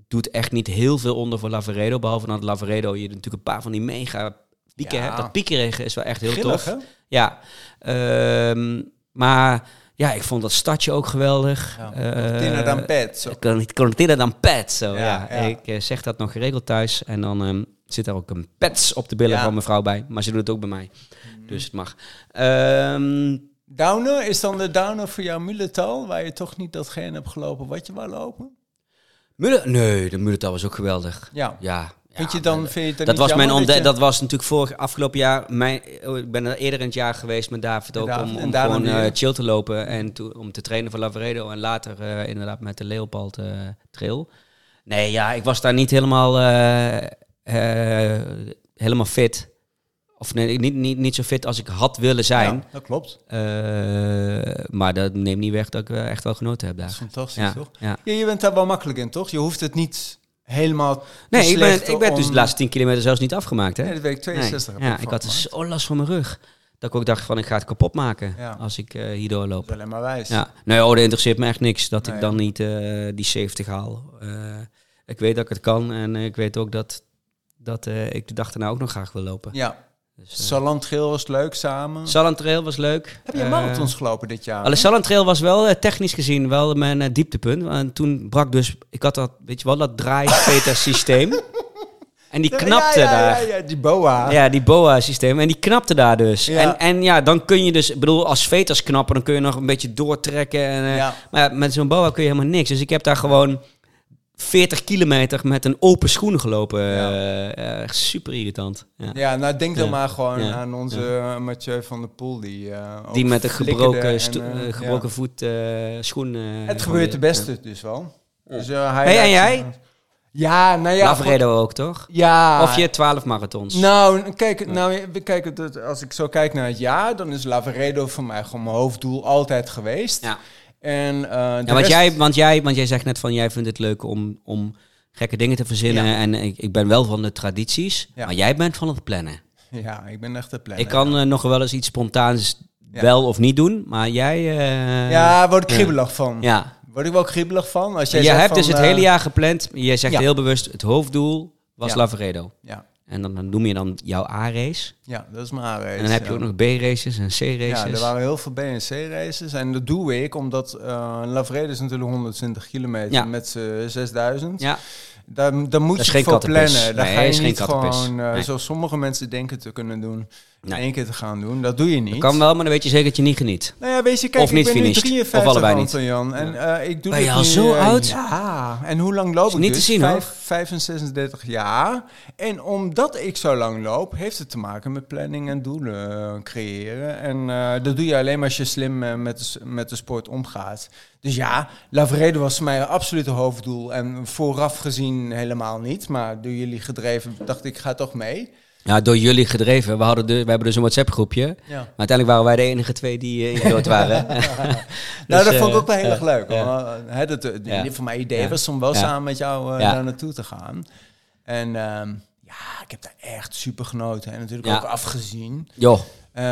S1: doet echt niet heel veel onder voor Lavaredo. Behalve dat Lavaredo je natuurlijk een paar van die mega pieken
S2: Ja.
S1: hebt. Dat piekeregen is wel echt heel
S2: Grillig,
S1: tof.
S2: hè?
S1: Ja, ehm, maar ja, ik vond dat stadje ook geweldig. Eh,
S2: Ja. dan pet. Zo.
S1: Cortina dan pet. Zo,
S2: Ja,
S1: ja,
S2: ja.
S1: Ik eh, zeg dat nog geregeld thuis. En dan ehm, zit daar ook een pets op de billen
S2: Ja.
S1: van mijn vrouw bij. Maar ze doet het ook bij mij. Dus het mag. Ehm,
S2: Downer, is dan de downer voor jouw muletal, waar je toch niet datgene hebt gelopen wat je wou lopen?
S1: Mulle- nee, de Mulletal was ook geweldig.
S2: Ja.
S1: Ja.
S2: Vind je
S1: ja,
S2: dan,
S1: Mulle-
S2: vind je het dan
S1: dat
S2: niet
S1: was, mijn
S2: jammer
S1: ontde-
S2: je-
S1: dat was natuurlijk vorig afgelopen jaar. Mijn, oh, ik ben er eerder in het jaar geweest met David
S2: Met
S1: ook
S2: David,
S1: om,
S2: en
S1: om
S2: daarna
S1: gewoon eh,
S2: weer.
S1: chill te lopen en toe- om te trainen voor Lavaredo. En later eh, inderdaad met de Leopold eh, Trail. Nee, ja, ik was daar niet helemaal, eh, eh, helemaal fit. Of nee, niet, niet, niet zo fit als ik had willen zijn.
S2: Ja, dat klopt.
S1: Eh, maar dat neemt niet weg dat ik eh, echt wel genoten heb
S2: Dat is
S1: daar.
S2: fantastisch,
S1: Ja,
S2: toch?
S1: ja.
S2: Ja, je bent daar wel makkelijk in, toch? Je hoeft het niet helemaal te
S1: Nee, ik ben,
S2: slechten
S1: ik ben dus
S2: om-
S1: de laatste 10 kilometer zelfs niet afgemaakt. Hè?
S2: Nee, dat weet ik, 62
S1: Nee. Ja, ik had
S2: dus...
S1: zo last van mijn rug. Dat ik ook dacht van, ik ga het kapot maken
S2: Ja.
S1: als ik eh, hierdoor
S2: Dat
S1: loop.
S2: is alleen maar wijs.
S1: Ja. Nee, oh, dat interesseert me echt niks. Dat
S2: Nee.
S1: ik dan niet eh, die 70 haal. Eh, ik weet dat ik het kan. En eh, ik weet ook dat, dat eh, ik de dag daarna ook nog graag wil lopen.
S2: ja.
S1: Dus, eh,
S2: Saland Geel was leuk samen.
S1: Salland Trail was leuk.
S2: Heb je
S1: Eh,
S2: marathons gelopen dit jaar?
S1: Alle Salland Trail was wel eh, technisch gezien wel mijn eh, dieptepunt. En toen brak dus, ik had dat, weet je wel, dat
S2: [LAUGHS]
S1: draai-beta-systeem. en die
S2: Ja,
S1: knapte
S2: ja, ja,
S1: daar.
S2: Ja, ja, die boa.
S1: Ja, die BOA-systeem. En die knapte daar dus.
S2: Ja.
S1: En, en ja, dan kun je dus... Ik bedoel, als veters knappen, dan kun je nog een beetje doortrekken. En, eh,
S2: Ja.
S1: Maar ja, met zo'n BOA kun je helemaal niks. Dus ik heb daar gewoon 40 kilometer met een open schoen gelopen.
S2: Ja.
S1: Eh, eh, super irritant. Ja.
S2: Ja, nou denk dan
S1: Ja.
S2: maar gewoon
S1: Ja.
S2: aan onze eh, Mathieu van der Poel. Die, eh, ook
S1: Die met een
S2: flikkerde en,
S1: gebroken, sto-
S2: eh,
S1: eh, gebroken
S2: ja.
S1: voet eh, schoen... eh,
S2: Het
S1: gewoon
S2: gebeurt de
S1: weer-
S2: beste dus wel. Dus, eh, hij
S1: Hey, en
S2: laat-
S1: jij?
S2: Ja, nou
S1: Ja.
S2: ja.
S1: Lavaredo eh, ook, toch?
S2: goed. Ja.
S1: Of je 12 marathons.
S2: Nou, kijk, nou, kijk, dat- als ik zo kijk naar het jaar, dan is Lavaredo voor mij gewoon mijn hoofddoel altijd geweest.
S1: Ja.
S2: En, eh, de
S1: Ja, want,
S2: rest-
S1: jij, want, jij, want jij zegt net van jij vindt het leuk om, om gekke dingen te verzinnen.
S2: Ja.
S1: En eh, ik, ik ben wel van de tradities.
S2: Ja.
S1: Maar jij bent van het plannen.
S2: Ja, ik ben echt de planner.
S1: ik kan eh, nog wel eens iets spontaans
S2: Ja.
S1: wel of niet doen. Maar jij. eh,
S2: Ja, word ik
S1: Ja.
S2: kriebelig van.
S1: ja.
S2: Word ik wel kriebelig van. Als jij
S1: Je
S2: zegt
S1: hebt
S2: van,
S1: dus het
S2: eh,
S1: hele jaar gepland. Jij zegt
S2: Ja.
S1: heel bewust: het hoofddoel was
S2: Ja.
S1: Lavaredo.
S2: Ja,
S1: En dan, dan noem je dan jouw A-race.
S2: ja, dat is mijn aanwijs.
S1: En dan heb je ook nog B-races en
S2: Ja, er
S1: C-races.
S2: waren heel veel B- en C-races. En dat doe ik omdat eh Lavredo is natuurlijk 120 kilometer
S1: Ja.
S2: met z'n 6000.
S1: Ja,
S2: Daar, daar moet
S1: is
S2: je
S1: geen
S2: voor
S1: kattenpis.
S2: plannen. Daar
S1: Nee,
S2: ga je
S1: is geen
S2: niet
S1: kattenpis.
S2: gewoon, eh,
S1: Nee.
S2: zoals sommige mensen denken te kunnen doen, in
S1: Nee.
S2: één keer te gaan doen. Dat doe je niet.
S1: dat kan wel, maar dan weet je zeker dat je niet geniet.
S2: Nou ja, weet je, kijk,
S1: Of niet
S2: ik ben
S1: finished.
S2: nu 53,
S1: Of allebei niet.
S2: Anton-Jan. En eh, ik doe
S1: Ben je
S2: dit
S1: al
S2: nu,
S1: zo
S2: eh,
S1: oud?
S2: Ja. En hoe lang loop
S1: Is
S2: ik
S1: niet te
S2: dus?
S1: zien, hoor.
S2: 35 jaar. En omdat ik zo lang loop, heeft het te maken met planning en doelen eh, creëren. En eh, dat doe je alleen maar als je slim eh, met, de, s- met de sport omgaat. Dus ja, Lavredo was voor mij een absolute hoofddoel. En vooraf gezien helemaal niet. Maar door jullie gedreven dacht ik, ga toch mee.
S1: Ja, door jullie gedreven. We, hadden de, we hebben dus een WhatsApp-groepje.
S2: Ja.
S1: Maar uiteindelijk waren wij de enige twee die eh, in dood waren.
S2: [LAUGHS]
S1: [LAUGHS]
S2: Nou,
S1: Dus,
S2: dat vond ik
S1: eh,
S2: ook wel heel erg leuk.
S1: ja.
S2: hoor. Hè, dat, eh,
S1: Ja.
S2: Voor mijn idee
S1: Ja.
S2: was om wel
S1: Ja.
S2: samen met jou eh,
S1: Ja.
S2: daar naartoe te gaan. En ehm, ja, ik heb daar echt super genoten. En natuurlijk
S1: Ja.
S2: ook afgezien.
S1: Joh,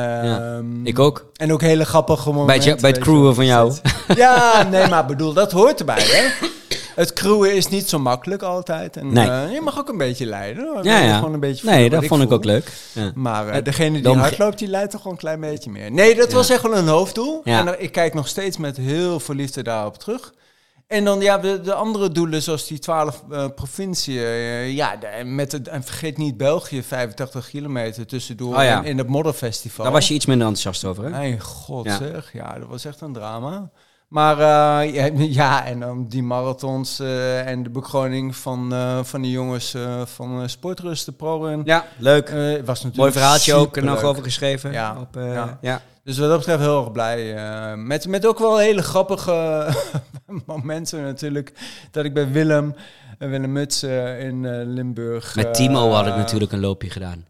S2: Ehm,
S1: ik ook.
S2: En ook hele grappige momenten.
S1: Bij het, je- bij het
S2: weet je wel.
S1: [LAUGHS] crewen van jou.
S2: Ja, nee, maar bedoel, dat hoort erbij, hè? Het crewen is niet zo makkelijk altijd. En,
S1: Nee.
S2: eh, je mag ook een beetje leiden. hoor.
S1: Ja, ja.
S2: Gewoon een beetje
S1: Nee,
S2: voelen
S1: dat
S2: wat
S1: vond ik ook
S2: voel.
S1: leuk. Ja.
S2: Maar eh, degene die
S1: dan-
S2: hard loopt, die leidt toch gewoon een klein beetje meer. Nee, dat was echt wel een hoofddoel.
S1: Ja.
S2: En er- ik kijk nog steeds met heel veel liefde daarop terug. En dan ja, de, de andere doelen, zoals die 12 eh provinciën. eh, ja, de- en met het, en vergeet niet België, 85 kilometer tussendoor
S1: Oh ja.
S2: en in het Modderfestival.
S1: Daar was je iets minder enthousiast over, hè?
S2: Mijn god
S1: Ja.
S2: zeg, ja, dat was echt een drama. Maar eh, ja, [LAUGHS] ja, en dan die marathons eh, en de bekroning van, eh, van die jongens eh, van eh, Sportrust, de ProRun.
S1: Ja, leuk.
S2: Eh, was natuurlijk
S1: Mooi verhaaltje ook, nou, er nog
S2: superleuk.
S1: over geschreven.
S2: Ja.
S1: Op, eh,
S2: Ja.
S1: ja.
S2: Dus wat dat betreft heel erg blij. eh, met, met ook wel hele grappige [LAUGHS] momenten natuurlijk. Dat ik bij Willem, eh, Willem Muts eh, in eh, Limburg...
S1: Met
S2: eh,
S1: Timo had ik natuurlijk een loopje gedaan.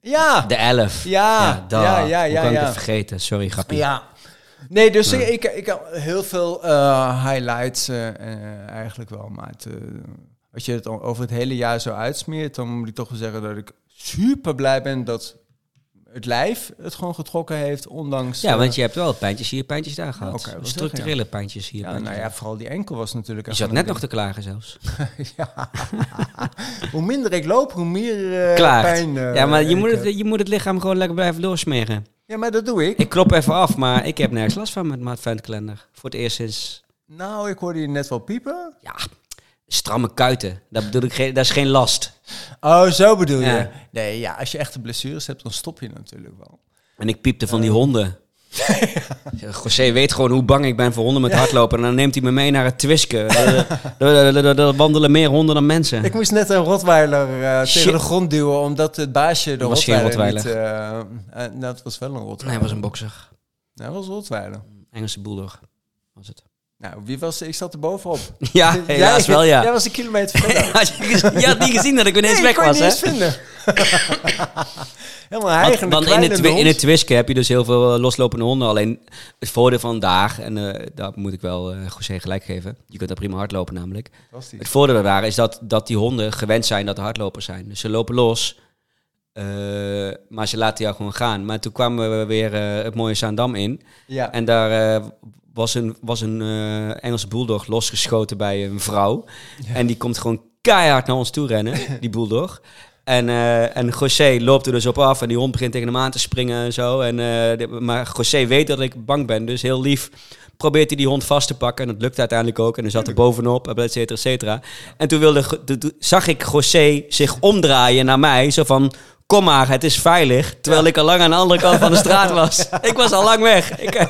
S2: Ja,
S1: De 11.
S2: ja, ja,
S1: dag.
S2: ja, ja,
S1: Hoe kan ik
S2: ja.
S1: het vergeten? Sorry, grapje.
S2: Ja. Nee, dus ik, ik, ik had heel veel eh, highlights eh, eh, eigenlijk wel. Maar het, eh, als je het o- over het hele jaar zo uitsmeert, dan moet ik toch wel zeggen dat ik super blij ben dat het lijf het gewoon getrokken heeft, ondanks...
S1: Ja,
S2: eh,
S1: want je hebt wel pijntjes hier, pijntjes daar gehad.
S2: oké, wel
S1: Structurele pijntjes hier.
S2: Ja,
S1: pijntjes
S2: nou ja, vooral die enkel was natuurlijk...
S1: daar. Je
S2: echt
S1: zat
S2: wel
S1: net
S2: een
S1: nog te klagen zelfs.
S2: ding. [LAUGHS] ja. [LAUGHS] hoe minder ik loop, hoe meer eh
S1: Klaagt.
S2: pijn... eh,
S1: ja, maar je
S2: ik eh,
S1: moet,
S2: heb.
S1: het, je moet het lichaam gewoon lekker blijven doorsmeren.
S2: Ja, maar dat doe ik.
S1: Ik klop even af, maar ik heb nergens last van met mijn adventkalender. Voor het eerst sinds...
S2: Nou, ik hoorde je net wel piepen.
S1: Ja, stramme kuiten. Dat bedoel ik, geen- dat is geen last.
S2: Oh, zo bedoel
S1: Ja.
S2: je. Nee, ja, als je echte blessures hebt, dan stop je natuurlijk wel.
S1: En ik piepte van die
S2: Eh. [LAUGHS]
S1: honden. José weet gewoon hoe bang ik ben voor honden met hardlopen. En dan neemt hij me mee naar het Twisken. Er wandelen meer honden dan mensen.
S2: Ik moest net een Rottweiler eh,
S1: Shit.
S2: tegen de grond duwen, omdat het baasje de
S1: Dat was geen
S2: Rottweiler, niet... eh, eh, nou, dat was wel een Rottweiler.
S1: Nee, hij was een bokser.
S2: Nee, dat was een Rottweiler.
S1: Engelse bulldog was het. [LAUGHS]
S2: Nou, wie was... Ik zat er bovenop.
S1: Ja, helaas
S2: [LAUGHS] Jij-
S1: wel ja.
S2: Jij was een kilometer
S1: [LAUGHS]
S2: verder.
S1: Had je, gezien- je had niet gezien dat ik ineens
S2: Nee,
S1: weg
S2: ik kon
S1: was,
S2: je
S1: hè?
S2: niet eens vinden.
S1: [LAUGHS]
S2: Helemaal
S1: Want-
S2: eigen.
S1: want in het, twi- in het Twisken heb je dus heel veel eh, loslopende honden. Alleen het voordeel vandaag, en eh daar moet ik wel eh José gelijk geven. Je kunt daar prima hardlopen namelijk. Het voordeel daar is dat, dat die honden gewend zijn dat er hardlopers zijn. Dus ze lopen los, eh, maar ze laten jou gewoon gaan. Maar toen kwamen we weer eh, het mooie Zaandam in.
S2: Ja.
S1: En daar eh, was een, was een eh, Engelse bulldog losgeschoten bij een vrouw. En die komt gewoon keihard naar ons toe rennen, die bulldog. En, eh, en José loopt er dus op af en die hond begint tegen hem aan te springen en zo. En, eh, de- maar José weet dat ik bang ben, dus heel lief probeert hij die hond vast te pakken. En dat lukt uiteindelijk ook. En hij zat er bovenop, et cetera, et cetera. En toen, wilde, Go- toen- toen zag ik José zich omdraaien naar mij, zo van... Kom maar, het is veilig. Terwijl ik al lang aan de andere kant van de straat was. Ik was al lang weg. Ik, eh,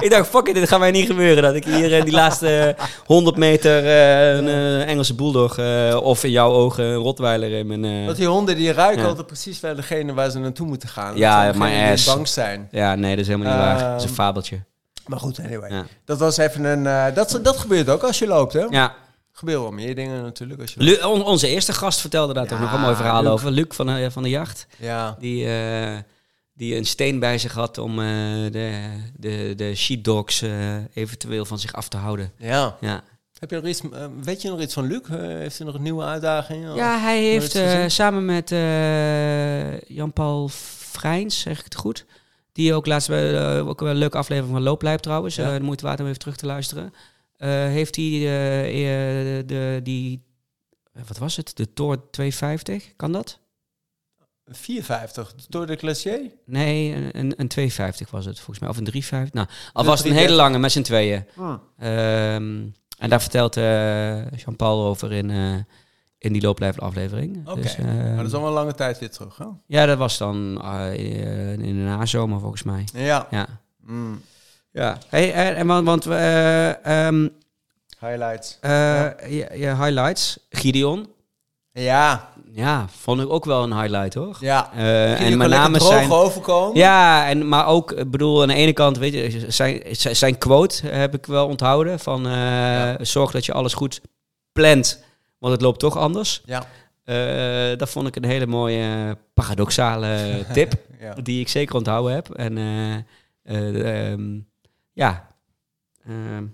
S1: ik dacht, fuck it, dit gaat mij niet gebeuren. Dat ik hier eh, die laatste 100 meter eh, een eh, Engelse bulldog eh, of in jouw ogen een Rottweiler in mijn... eh,
S2: Want die honden die ruiken
S1: Ja.
S2: altijd precies wel degene waar ze naartoe moeten gaan.
S1: Ja,
S2: Dat zijn
S1: my
S2: degenen die
S1: ass.
S2: bang zijn.
S1: ja, nee, dat is helemaal niet waar. Dat is een
S2: Ehm,
S1: fabeltje.
S2: Maar goed, anyway.
S1: Ja.
S2: Dat was even een... eh, dat, dat gebeurt ook als je loopt, hè?
S1: Ja.
S2: Gebeurt wel meer dingen natuurlijk als je
S1: Lu- on- onze eerste gast vertelde daar toch
S2: Ja,
S1: nog een mooi verhaal
S2: Luc.
S1: over. Luc van, eh, van de Jacht.
S2: Ja.
S1: Die, eh, die een steen bij zich had om eh, de, de, de sheepdogs eh, eventueel van zich af te houden.
S2: Ja.
S1: Ja,
S2: Heb je nog iets, eh, weet je nog iets van Luc? Eh, heeft hij nog een nieuwe uitdaging?
S1: ja hij heeft
S2: Oh, nooit
S1: eh,
S2: gezien.
S1: samen met eh, Jan-Paul Vrijns, zeg ik het goed... Die ook laatst bij eh, ook wel een leuke aflevering van Looplijp trouwens.
S2: Ja.
S1: eh, de moeite waard om even terug te luisteren. Eh, heeft hij eh, eh, de, die, eh, wat was het? De Tor 250, kan dat?
S2: 54, door de Glacier?
S1: Nee, een, een, een 250 was het volgens mij. Of een 350. Nou, al
S2: Een
S1: was het een
S2: 3,50.
S1: hele lange met z'n tweeën.
S2: Hmm.
S1: Ehm, en daar vertelt eh, Jean-Paul over in, eh, in die looplijdende aflevering.
S2: Oké,
S1: Dus, ehm,
S2: Maar dat is al een lange tijd weer terug, hè?
S1: Ja, dat was dan eh, in de nazomer volgens mij.
S2: Ja.
S1: Ja.
S2: Hmm.
S1: ja. Hey, en, en want, want we, eh, ehm,
S2: Highlights.
S1: eh, je, je highlights, Gideon.
S2: Ja.
S1: Ja, vond ik ook wel een highlight hoor.
S2: Ja.
S1: Eh,
S2: en mijn naam
S1: namen
S2: droog overkomen.
S1: Ja, en, maar ook, ik bedoel, aan de ene kant, weet je, zijn, zijn- zijn quote heb ik wel onthouden. Van eh, zorg dat je alles goed plant, want het loopt toch anders.
S2: Ja.
S1: Eh, dat vond ik een hele mooie eh, [LAUGHS] paradoxale tip,
S2: Ja.
S1: die ik zeker onthouden heb. En eh, eh, ehm, ja, Ehm,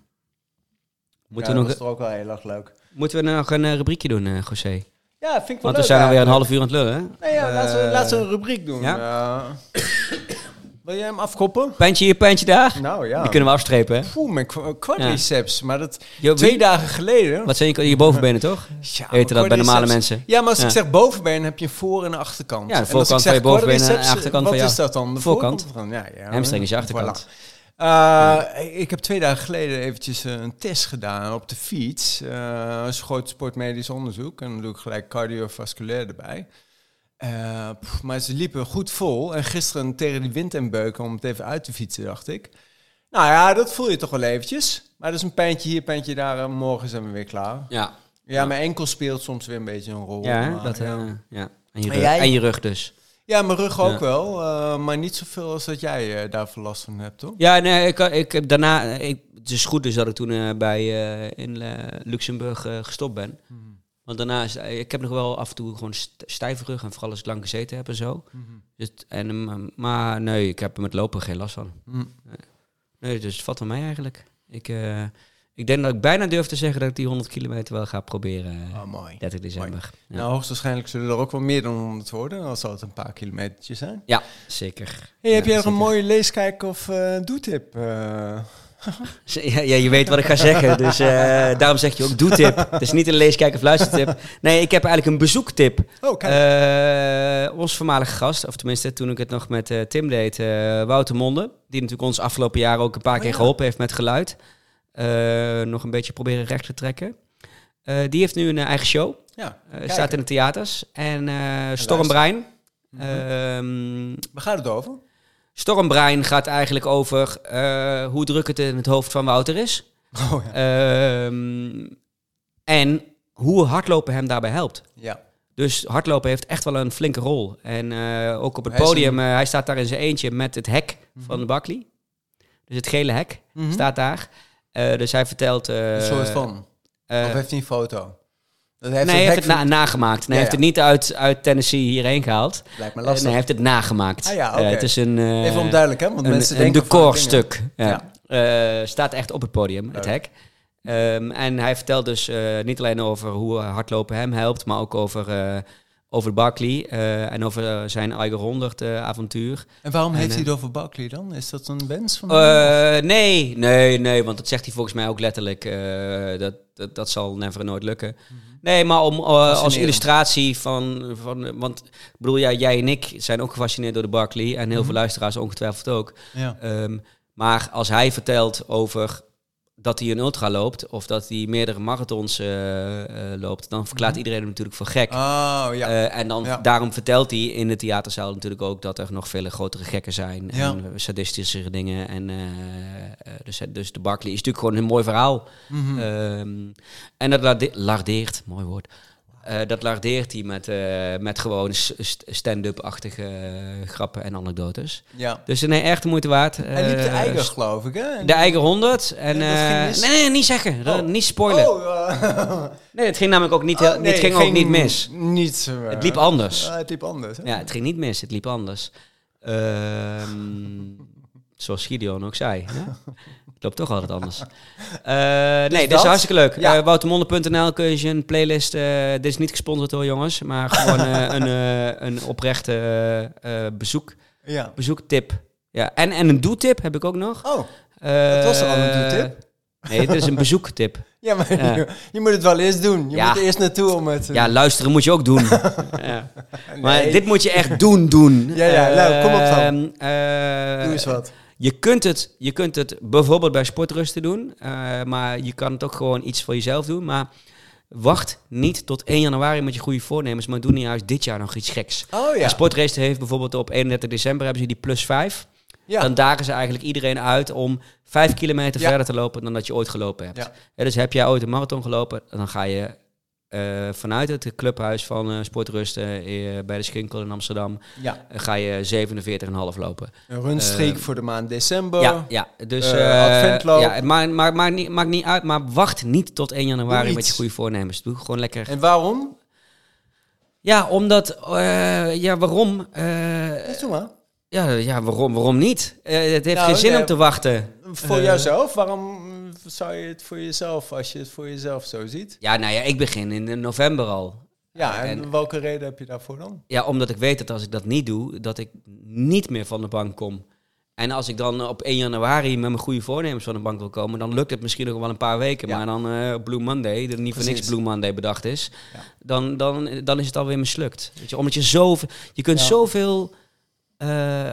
S1: moeten,
S2: Ja,
S1: we
S2: dat is
S1: nog,
S2: toch ook wel heel erg leuk.
S1: moeten we nog een eh, rubriekje doen, eh José?
S2: Ja, vind ik wel
S1: Want we
S2: leuk
S1: zijn alweer een
S2: eigenlijk.
S1: half uur aan het lullen, hè?
S2: Nee, ja, laten, we,
S1: Eh,
S2: laten we een rubriek doen.
S1: ja?
S2: Eh, [COUGHS] wil jij hem afkoppen?
S1: Pijntje hier, pijntje daar.
S2: Nou ja.
S1: Die kunnen we afstrepen, hè?
S2: Poeh, mijn kwa- quadriceps. Maar dat
S1: Jo, wie-
S2: twee dagen geleden.
S1: Wat zijn je, je bovenbenen, toch?
S2: Ja,
S1: Heette dat bij normale
S2: quadriceps-
S1: mensen?
S2: Ja, maar als
S1: Ja.
S2: ik zeg bovenbeen, heb je een voor- en een achterkant.
S1: Ja, de
S2: En als
S1: voorkant
S2: ik
S1: van
S2: zeg
S1: je bovenbeen en
S2: quadriceps, eh,
S1: de achterkant
S2: wat
S1: van je
S2: is dat dan? De
S1: voorkant.
S2: van- Ja, ja,
S1: Hamstring is je
S2: voilà.
S1: achterkant.
S2: Eh, ik heb twee dagen geleden eventjes eh, een test gedaan op de fiets. Eh dat is een groot sportmedisch onderzoek. En dan doe ik gelijk cardiovasculair erbij. Eh, pff, maar ze liepen goed vol. En gisteren tegen die wind en beuken om het even uit te fietsen, dacht ik. Nou ja, dat voel je toch wel eventjes. Maar dat is een pijntje hier, pijntje daar. En morgen zijn we weer klaar.
S1: Ja,
S2: Ja, mijn enkel speelt soms weer een beetje een rol.
S1: ja, hè?
S2: maar
S1: dat, eh,
S2: Oh, ja.
S1: ja. En, je
S2: En
S1: rug,
S2: jij?
S1: en je rug dus.
S2: Ja, mijn rug ook
S1: Ja.
S2: wel. eh, maar niet zoveel als dat jij eh, daarvoor last van hebt, toch?
S1: Ja, nee, ik, ik heb daarna... Ik, het is goed dus dat ik toen eh, bij, eh, in eh, Luxemburg eh, gestopt ben.
S2: Mhm.
S1: Want daarna is... eh, ik heb nog wel af en toe gewoon st- stijve rug. En vooral als ik lang gezeten heb en zo.
S2: Mhm.
S1: Dus, en, eh, maar nee, ik heb er met lopen geen last van.
S2: Mm.
S1: Nee, dus het valt wel mij eigenlijk. Ik, eh, ik denk dat ik bijna durf te zeggen dat ik die 100 kilometer wel ga proberen. eh,
S2: Oh, mooi.
S1: 30 december. Ja.
S2: Nou, hoogstwaarschijnlijk zullen er ook wel meer dan 100 worden. Al zal het een paar kilometertjes zijn.
S1: ja, zeker.
S2: Hey, heb
S1: Ja,
S2: jij nog een
S1: zeker.
S2: mooie leeskijk of eh doetip? eh
S1: ja, ja, je weet wat ik ga zeggen. Dus eh, daarom zeg je ook doe-tip. Het is niet een lees, kijk of luistertip. Nee, ik heb eigenlijk een bezoektip.
S2: Oh, kijk.
S1: Eh, ons voormalige gast, of tenminste toen ik het nog met eh, Tim deed, eh, Wouter Monde. Die natuurlijk ons afgelopen jaar ook een paar
S2: Oh,
S1: keer
S2: ja.
S1: geholpen heeft met geluid. Eh, nog een beetje proberen recht te trekken. Eh, die heeft nu een eh, eigen show.
S2: ja.
S1: Eh,
S2: Kijk.
S1: staat in de theaters. En eh Storm
S2: luister.
S1: Brein.
S2: Mhm.
S1: Ehm,
S2: Waar gaat het
S1: [LAUGHS]
S2: over?
S1: Storm Brein gaat eigenlijk over eh, hoe druk het in het hoofd van Wouter is.
S2: Oh, ja.
S1: Ehm, en hoe hardlopen hem daarbij helpt.
S2: ja.
S1: Dus hardlopen heeft echt wel een flinke rol. En eh, ook op het
S2: Hij is
S1: podium, eh, hij staat daar in zijn eentje met het hek van Buckley. Dus het gele hek
S2: Mhm.
S1: staat daar. Eh, dus hij vertelt... eh,
S2: Een soort van.
S1: eh,
S2: of heeft hij een foto? Dat heeft
S1: nee,
S2: een
S1: hij heeft
S2: hek
S1: het na- nagemaakt. Nee, hij
S2: Ja,
S1: heeft het niet uit, uit Tennessee hierheen gehaald.
S2: van- Lijkt me
S1: Eh, nee,
S2: lastig.
S1: hij heeft het nagemaakt.
S2: Ah ja,
S1: Eh,
S2: oké.
S1: het is een... eh,
S2: Even onduidelijk, hè? Want
S1: een,
S2: mensen
S1: een
S2: denken van
S1: decorstuk. Ja.
S2: Ja.
S1: Eh, staat echt op het podium, het
S2: Leuk.
S1: hek. Ehm, en hij vertelt dus eh, niet alleen over hoe eh, hardlopen hem helpt, maar ook over, eh, over Barkley eh, en over eh, zijn eigen 100 eh, avontuur.
S2: dingen. En waarom
S1: En,
S2: heeft
S1: eh,
S2: hij het over Buckley dan? Is dat een wens van hem?
S1: Eh, nee, nee, nee, want dat zegt hij volgens mij ook letterlijk. eh, dat, dat, dat zal never nooit lukken. Nee, maar om, eh, als
S2: Mhm. Fascinerend.
S1: illustratie van, van... Want ik bedoel, ja, jij en ik zijn ook gefascineerd door de Barkley. En heel
S2: Mhm.
S1: veel luisteraars ongetwijfeld ook.
S2: Ja.
S1: Ehm, maar als hij vertelt over dat hij een ultra loopt of dat hij meerdere marathons eh, eh, loopt, dan verklaart iedereen hem natuurlijk voor gek.
S2: Mhm. Oh, ja.
S1: Eh, en dan,
S2: Ja.
S1: daarom vertelt hij in de theaterzaal natuurlijk ook dat er nog vele grotere gekken zijn.
S2: Ja.
S1: En sadistische dingen. En, eh, eh, dus, dus de Barkley is natuurlijk gewoon een mooi verhaal.
S2: Mhm.
S1: Ehm, en dat larde- lardeert, mooi woord. Eh, dat lardeert hij met, eh, met gewoon s- st- stand-up-achtige eh, grappen en anekdotes.
S2: ja.
S1: Dus nee, echt de moeite waard.
S2: Hij liep de
S1: Eh,
S2: eigen, geloof ik, hè?
S1: De eigen 100. En,
S2: Ja, dat ging
S1: eh,
S2: mis.
S1: nee, nee, niet zeggen. Dat-
S2: Oh.
S1: Niet spoilen.
S2: Oh,
S1: [LAUGHS]
S2: eh,
S1: Nee, het ging namelijk ook niet, heel,
S2: oh, nee,
S1: het ging ook niet mis.
S2: Niet, eh,
S1: Het liep anders.
S2: eh, het liep anders. hè?
S1: Ja, het ging niet mis. Het liep anders. Ehm, zoals Gideon ook zei. hè? Het loopt toch altijd anders. Eh, nee, dit
S2: Dus dat?
S1: is hartstikke leuk.
S2: Ja.
S1: Eh, Woutermonde.nl kun je een playlist. eh, dit is niet gesponsord hoor, jongens. Maar gewoon
S2: [LAUGHS]
S1: eh, een, eh, een oprechte eh, eh, bezoek,
S2: ja.
S1: bezoektip. Ja, en, en een doetip heb ik ook nog.
S2: Oh,
S1: Het
S2: was er al een doetip?
S1: Eh, Nee, dit is een
S2: [LAUGHS]
S1: bezoektip.
S2: ja, maar
S1: Ja.
S2: Je, [LAUGHS] je moet het wel eerst doen. Je
S1: Ja.
S2: moet er eerst naartoe om het... eh,
S1: Ja, luisteren moet je ook
S2: [LAUGHS]
S1: doen. ja.
S2: Nee. eh,
S1: Maar dit moet je echt doen, doen. Ehm,
S2: Ja, ja, nou, kom op dan.
S1: Eh, eh,
S2: Doe eens wat.
S1: Je kunt, het, je kunt het bijvoorbeeld bij sportrusten doen, eh, maar je kan het ook gewoon iets voor jezelf doen. Maar wacht niet tot 1 januari met je goede voornemens, maar doe nu juist dit jaar nog iets geks.
S2: Oh ja.
S1: Ja. Sportrace heeft bijvoorbeeld op 31 december hebben ze die plus 5.
S2: Ja.
S1: Dan dagen ze eigenlijk iedereen uit om 5 kilometer
S2: Ja.
S1: verder te lopen dan dat je ooit gelopen hebt.
S2: Ja.
S1: Ja, dus heb jij ooit een marathon gelopen, dan ga je eh, vanuit het clubhuis van eh, Sportrusten eh, bij de Schinkel in Amsterdam,
S2: ja.
S1: eh, ga je 47,5 lopen.
S2: Een runstreek
S1: Eh,
S2: voor de maand december.
S1: ja, ja, dus
S2: Oh. eh,
S1: eh,
S2: adventloop.
S1: ja, het maakt, maakt, maakt, niet, maakt niet uit, maar wacht niet tot 1 januari
S2: Doe
S1: met je
S2: iets.
S1: goede voornemens. Doe gewoon lekker
S2: En waarom?
S1: Ja, omdat. eh, ja, waarom? Eh,
S2: Ja, doe maar.
S1: ja, ja waarom, waarom niet? Eh, het heeft
S2: Nou,
S1: geen zin
S2: nee.
S1: om te wachten.
S2: Voor jouzelf? Waarom zou je het voor jezelf, als je het voor jezelf zo ziet?
S1: Ja, nou ja, ik begin in eh, november al.
S2: Ja, en,
S1: en-
S2: welke reden heb je daarvoor dan?
S1: Ja, omdat ik weet dat als ik dat niet doe, dat ik niet meer van de bank kom. En als ik dan op 1 januari met mijn goede voornemens van de bank wil komen, dan lukt het misschien nog wel een paar weken.
S2: Ja.
S1: Maar dan eh, op Blue Monday, dat niet voor niks
S2: Precies.
S1: Blue Monday bedacht is,
S2: Ja.
S1: dan, dan, dan is het alweer mislukt. Weet je, omdat je zoveel, je kunt
S2: Ja.
S1: zoveel eh, eh,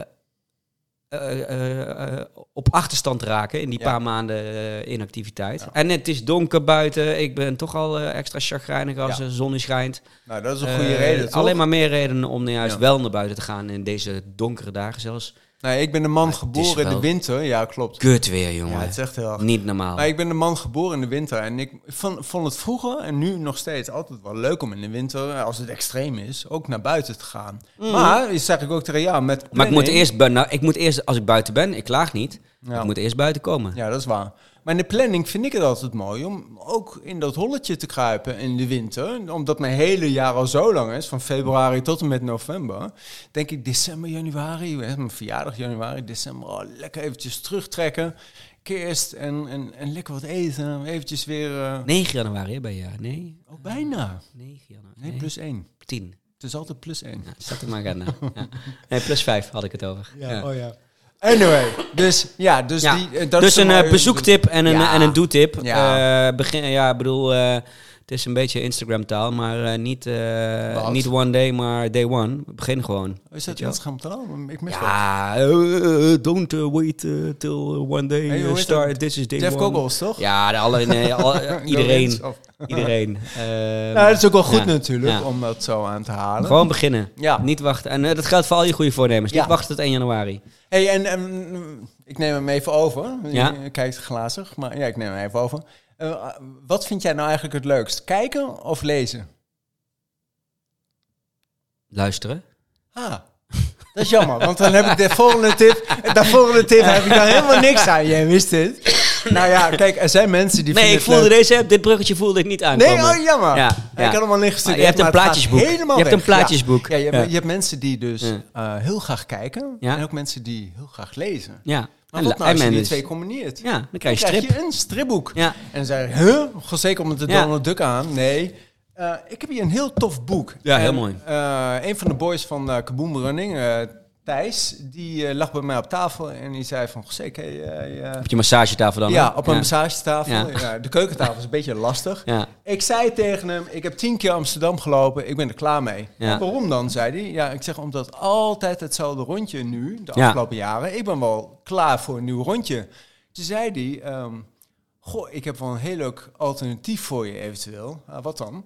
S1: eh, eh, op achterstand raken in die
S2: Ja.
S1: paar maanden eh, inactiviteit.
S2: Ja.
S1: En het is donker buiten, ik ben toch al eh, extra chagrijnig als
S2: Ja.
S1: de zon niet schijnt.
S2: Nou, dat is een goede
S1: Eh,
S2: reden, toch?
S1: Alleen maar meer redenen om juist
S2: Ja.
S1: wel naar buiten te gaan in deze donkere dagen zelfs.
S2: Nee, ik ben een man
S1: Maar het is
S2: geboren in
S1: wel-
S2: de winter. Ja, klopt.
S1: Kut weer,
S2: Ja,
S1: jongen.
S2: het is echt heel erg.
S1: Niet normaal.
S2: Maar ik ben een man geboren in de winter. En ik vond, vond het vroeger en nu nog steeds altijd wel leuk om in de winter, eh, als het extreem is, ook naar buiten te gaan. Maar, dat zeg ik ook tegen jou, met
S1: Mm. maar ik moet,
S2: planning-
S1: eerst, bu- nou, ik moet eerst, als ik buiten ben, ik klaag niet.
S2: Ja.
S1: Ik moet eerst buiten komen.
S2: Ja, dat is waar. Maar in de planning vind ik het altijd mooi om ook in dat holletje te kruipen in de winter. Omdat mijn hele jaar al zo lang is, van februari tot en met november. Denk ik december, januari, hè, mijn verjaardag januari, december. oh, lekker eventjes terugtrekken, kerst en, en, en lekker wat eten. Eventjes weer, eh,
S1: 9 januari hè, bij jou? Nee,
S2: oh bijna.
S1: 9 januari.
S2: Nee, plus één.
S1: 10.
S2: Het is altijd plus één.
S1: Ja, staat er maar aan. Ja. Nee, plus 5 had ik het over. Ja.
S2: oh ja. Anyway, dus ja, dus,
S1: Ja.
S2: Die, eh, dat
S1: dus
S2: is
S1: een
S2: mooie-
S1: eh, bezoektip en een,
S2: Ja.
S1: en een doetip.
S2: Ja.
S1: Ja, begin, ja ik bedoel, eh, het is een beetje Instagram-taal, maar eh, niet, eh,
S2: Wat?
S1: niet one day, maar day one. Begin gewoon.
S2: Is
S1: weet
S2: dat
S1: je wel?
S2: wat schamtaal? Ik mis dat.
S1: Ja, eh, eh, don't eh, wait eh, till eh, one day
S2: Hey, hoe
S1: eh,
S2: heet
S1: start.
S2: dat?
S1: This is day
S2: Jeff
S1: one.
S2: Goggles, toch?
S1: Ja, de alle,
S2: [LAUGHS]
S1: nee, al- iedereen.
S2: Lorenz, of-
S1: iedereen. Ehm,
S2: Nou, dat is ook wel goed
S1: ja,
S2: natuurlijk
S1: ja.
S2: om dat zo aan te halen.
S1: Gewoon beginnen.
S2: Ja.
S1: Niet wachten. En eh, dat geldt voor al je goede voornemens.
S2: Ja.
S1: Niet wachten tot 1 januari.
S2: Hey, en, en, ik neem hem even over.
S1: Ja.
S2: Je kijkt glazig, maar ja, ik neem hem even over. Eh, wat vind jij nou eigenlijk het leukst? Kijken of lezen?
S1: Luisteren.
S2: Ah, dat is jammer, want dan heb ik de volgende tip. De volgende tip heb ik daar helemaal niks aan. Jij wist dit. Nou ja, kijk, er zijn mensen die
S1: Nee,
S2: vinden
S1: ik
S2: het
S1: voelde
S2: leuk.
S1: deze, dit bruggetje voelde ik niet aankomen.
S2: Nee, oh jammer.
S1: Ja, ja.
S2: Ik had allemaal niet
S1: Maar
S2: gestudeerd.
S1: je hebt een
S2: maar het gaat
S1: plaatjesboek.
S2: Helemaal
S1: Je hebt
S2: weg.
S1: een plaatjesboek.
S2: Ja, ja, je, hebt,
S1: Ja.
S2: je hebt mensen die dus
S1: Ja.
S2: eh, heel graag kijken.
S1: Ja.
S2: En ook mensen die heel graag lezen.
S1: Ja.
S2: Maar
S1: En la-
S2: wat nou als
S1: en
S2: je die
S1: mensen.
S2: twee combineert?
S1: Ja, dan krijg je
S2: Dan
S1: strip.
S2: krijg je een stripboek.
S1: Ja.
S2: En dan zei ik, huh? Goh, Zeker omdat de
S1: Ja.
S2: Donald Duck aan. Nee. Eh, ik heb hier een heel tof boek.
S1: Ja,
S2: En,
S1: heel mooi.
S2: eh, een van de boys van eh Kaboom Running, eh, Thijs, die eh, lag bij mij op tafel en die zei van... "Goh, Zeker, jij, eh,
S1: Op je massagetafel dan.
S2: ja,
S1: hè?
S2: op een massagetafel.
S1: Ja.
S2: Ja, de keukentafel is een beetje lastig.
S1: Ja.
S2: Ik zei tegen hem, ik heb tien keer Amsterdam gelopen, ik ben er klaar mee.
S1: Ja.
S2: En waarom dan, zei hij. Ja, ik zeg, omdat altijd hetzelfde rondje nu, de
S1: Ja.
S2: afgelopen jaren. Ik ben wel klaar voor een nieuw rondje. Toen zei hij, ehm, goh, ik heb wel een heel leuk alternatief voor je eventueel. "Ah, wat dan?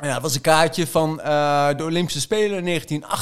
S2: Ja, dat was een kaartje van eh, de Olympische Spelen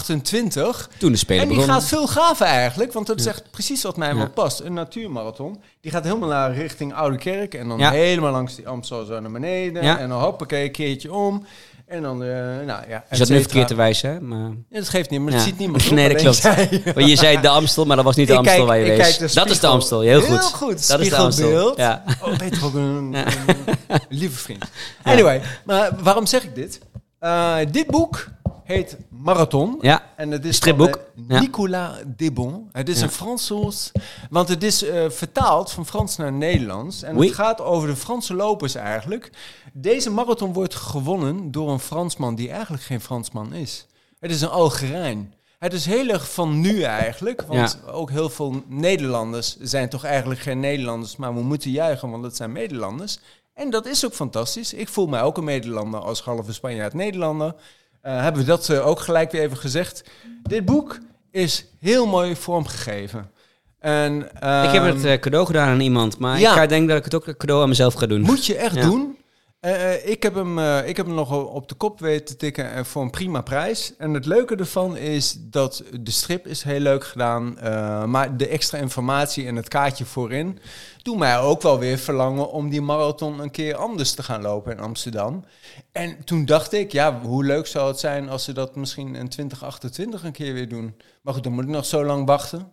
S2: 1928.
S1: Toen de Spelen
S2: En die
S1: begonnen.
S2: gaat veel gaver eigenlijk, want dat is echt precies wat mij wel
S1: Ja.
S2: past. Een natuurmarathon. Die gaat helemaal naar richting Oude Kerk en dan
S1: Ja.
S2: helemaal langs die Amstel zo naar beneden.
S1: Ja.
S2: En dan hoppakee, een keertje om. En dan, eh nou ja.
S1: Is dat nu verkeerd te wijzen, hè? Maar...
S2: ja, Dat geeft niet, maar
S1: Ja.
S2: dat
S1: [LAUGHS]
S2: ziet niemand.
S1: Nee,
S2: op,
S1: dat
S2: alleen
S1: klopt.
S2: [LAUGHS]
S1: [LAUGHS]
S2: zij.
S1: Want je zei de Amstel, maar dat was niet de
S2: Ik
S1: Amstel
S2: kijk-
S1: waar je
S2: ik
S1: wees.
S2: kijk de
S1: dat is de
S2: spiegel.
S1: Amstel, heel goed.
S2: Heel goed,
S1: Dat is de Amstel.
S2: spiegelbeeld.
S1: Ja.
S2: Oh, beter
S1: [LAUGHS]
S2: ook een, een lieve vriend. Anyway, maar waarom zeg ik dit? Eh, dit boek heet Marathon.
S1: Ja.
S2: En het is
S1: Stripboek.
S2: van eh,
S1: Ja.
S2: Nicolas Debon. Het is
S1: Ja.
S2: een Fransoos, want het is eh, vertaald van Frans naar Nederlands. En
S1: Oui.
S2: het gaat over de Franse lopers eigenlijk. Deze marathon wordt gewonnen door een Fransman die eigenlijk geen Fransman is. Het is een Algerijn. Het is heel erg van nu eigenlijk, want ook heel veel Nederlanders zijn toch eigenlijk geen Nederlanders, maar we moeten juichen, want het zijn Nederlanders. En dat is ook fantastisch. Ik voel mij ook een Nederlander als halve Spanjaard Nederlander. Eh, hebben we dat eh, ook gelijk weer even gezegd. Dit boek is heel mooi vormgegeven. En,
S1: Ik heb
S2: ehm,
S1: het eh, cadeau gedaan aan iemand, maar
S2: Ja.
S1: ik ga denk dat ik het ook cadeau aan mezelf ga doen.
S2: Moet je echt
S1: Ja.
S2: doen. Eh, eh, ik, heb hem, eh, ik heb hem nog op de kop weten te tikken eh, voor een prima prijs. En het leuke ervan is dat de strip is heel leuk gedaan. eh, maar de extra informatie en het kaartje voorin doen mij ook wel weer verlangen om die marathon een keer anders te gaan lopen in Amsterdam. En toen dacht ik, ja, hoe leuk zou het zijn als ze dat misschien in 2028 een keer weer doen. Maar goed, dan moet ik nog zo lang wachten.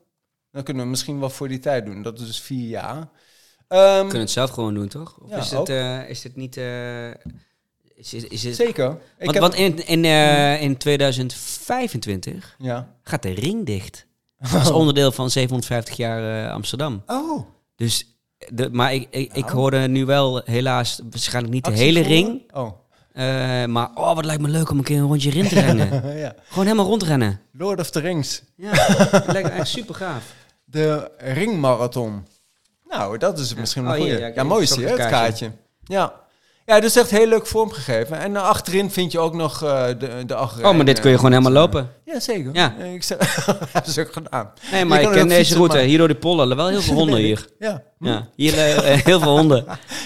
S2: Dan kunnen we misschien wel voor die tijd doen. Dat is dus vier jaar. Ehm,
S1: We kunnen het zelf gewoon doen, toch? Of
S2: Ja,
S1: is,
S2: ook.
S1: het, eh, is het niet... eh, is, is, is het...
S2: Zeker. Ik
S1: Want,
S2: heb-
S1: want in, in, eh, in 2025
S2: Ja.
S1: gaat de ring dicht. Als onderdeel van 750 jaar eh, Amsterdam.
S2: Oh.
S1: Dus, de, maar ik, ik, ik
S2: Nou.
S1: hoorde nu wel helaas waarschijnlijk niet de hele ring.
S2: Oh. [LAUGHS]
S1: eh, maar oh, wat lijkt me leuk om een keer een rondje in te
S2: [LAUGHS]
S1: rennen.
S2: ja.
S1: Gewoon helemaal rondrennen.
S2: Lord of the Rings.
S1: Ja, dat lijkt me echt super gaaf.
S2: De ringmarathon. Nou, dat is misschien wel
S1: Oh,
S2: een
S1: hier,
S2: goeie.
S1: ja,
S2: Ja,
S1: ik-
S2: mooi
S1: ik
S2: zie je,
S1: zag
S2: het
S1: het
S2: kaartje. Ja. Ja, dus echt heel leuk vormgegeven. En eh, achterin vind je ook nog eh, de, de
S1: Oh, maar dit kun je gewoon helemaal lopen.
S2: Ja, zeker.
S1: Ja.
S2: Eh, Ik zeg, [LAUGHS] dat is ook gedaan.
S1: Nee,
S2: Je
S1: maar ik
S2: kan
S1: ken
S2: ook
S1: deze
S2: fietsen,
S1: route.
S2: maar-
S1: Hier door de pollen. Wel heel veel
S2: [LAUGHS]
S1: honden hier.
S2: Ja.
S1: Ja, hier eh, heel veel
S2: [LAUGHS]
S1: honden.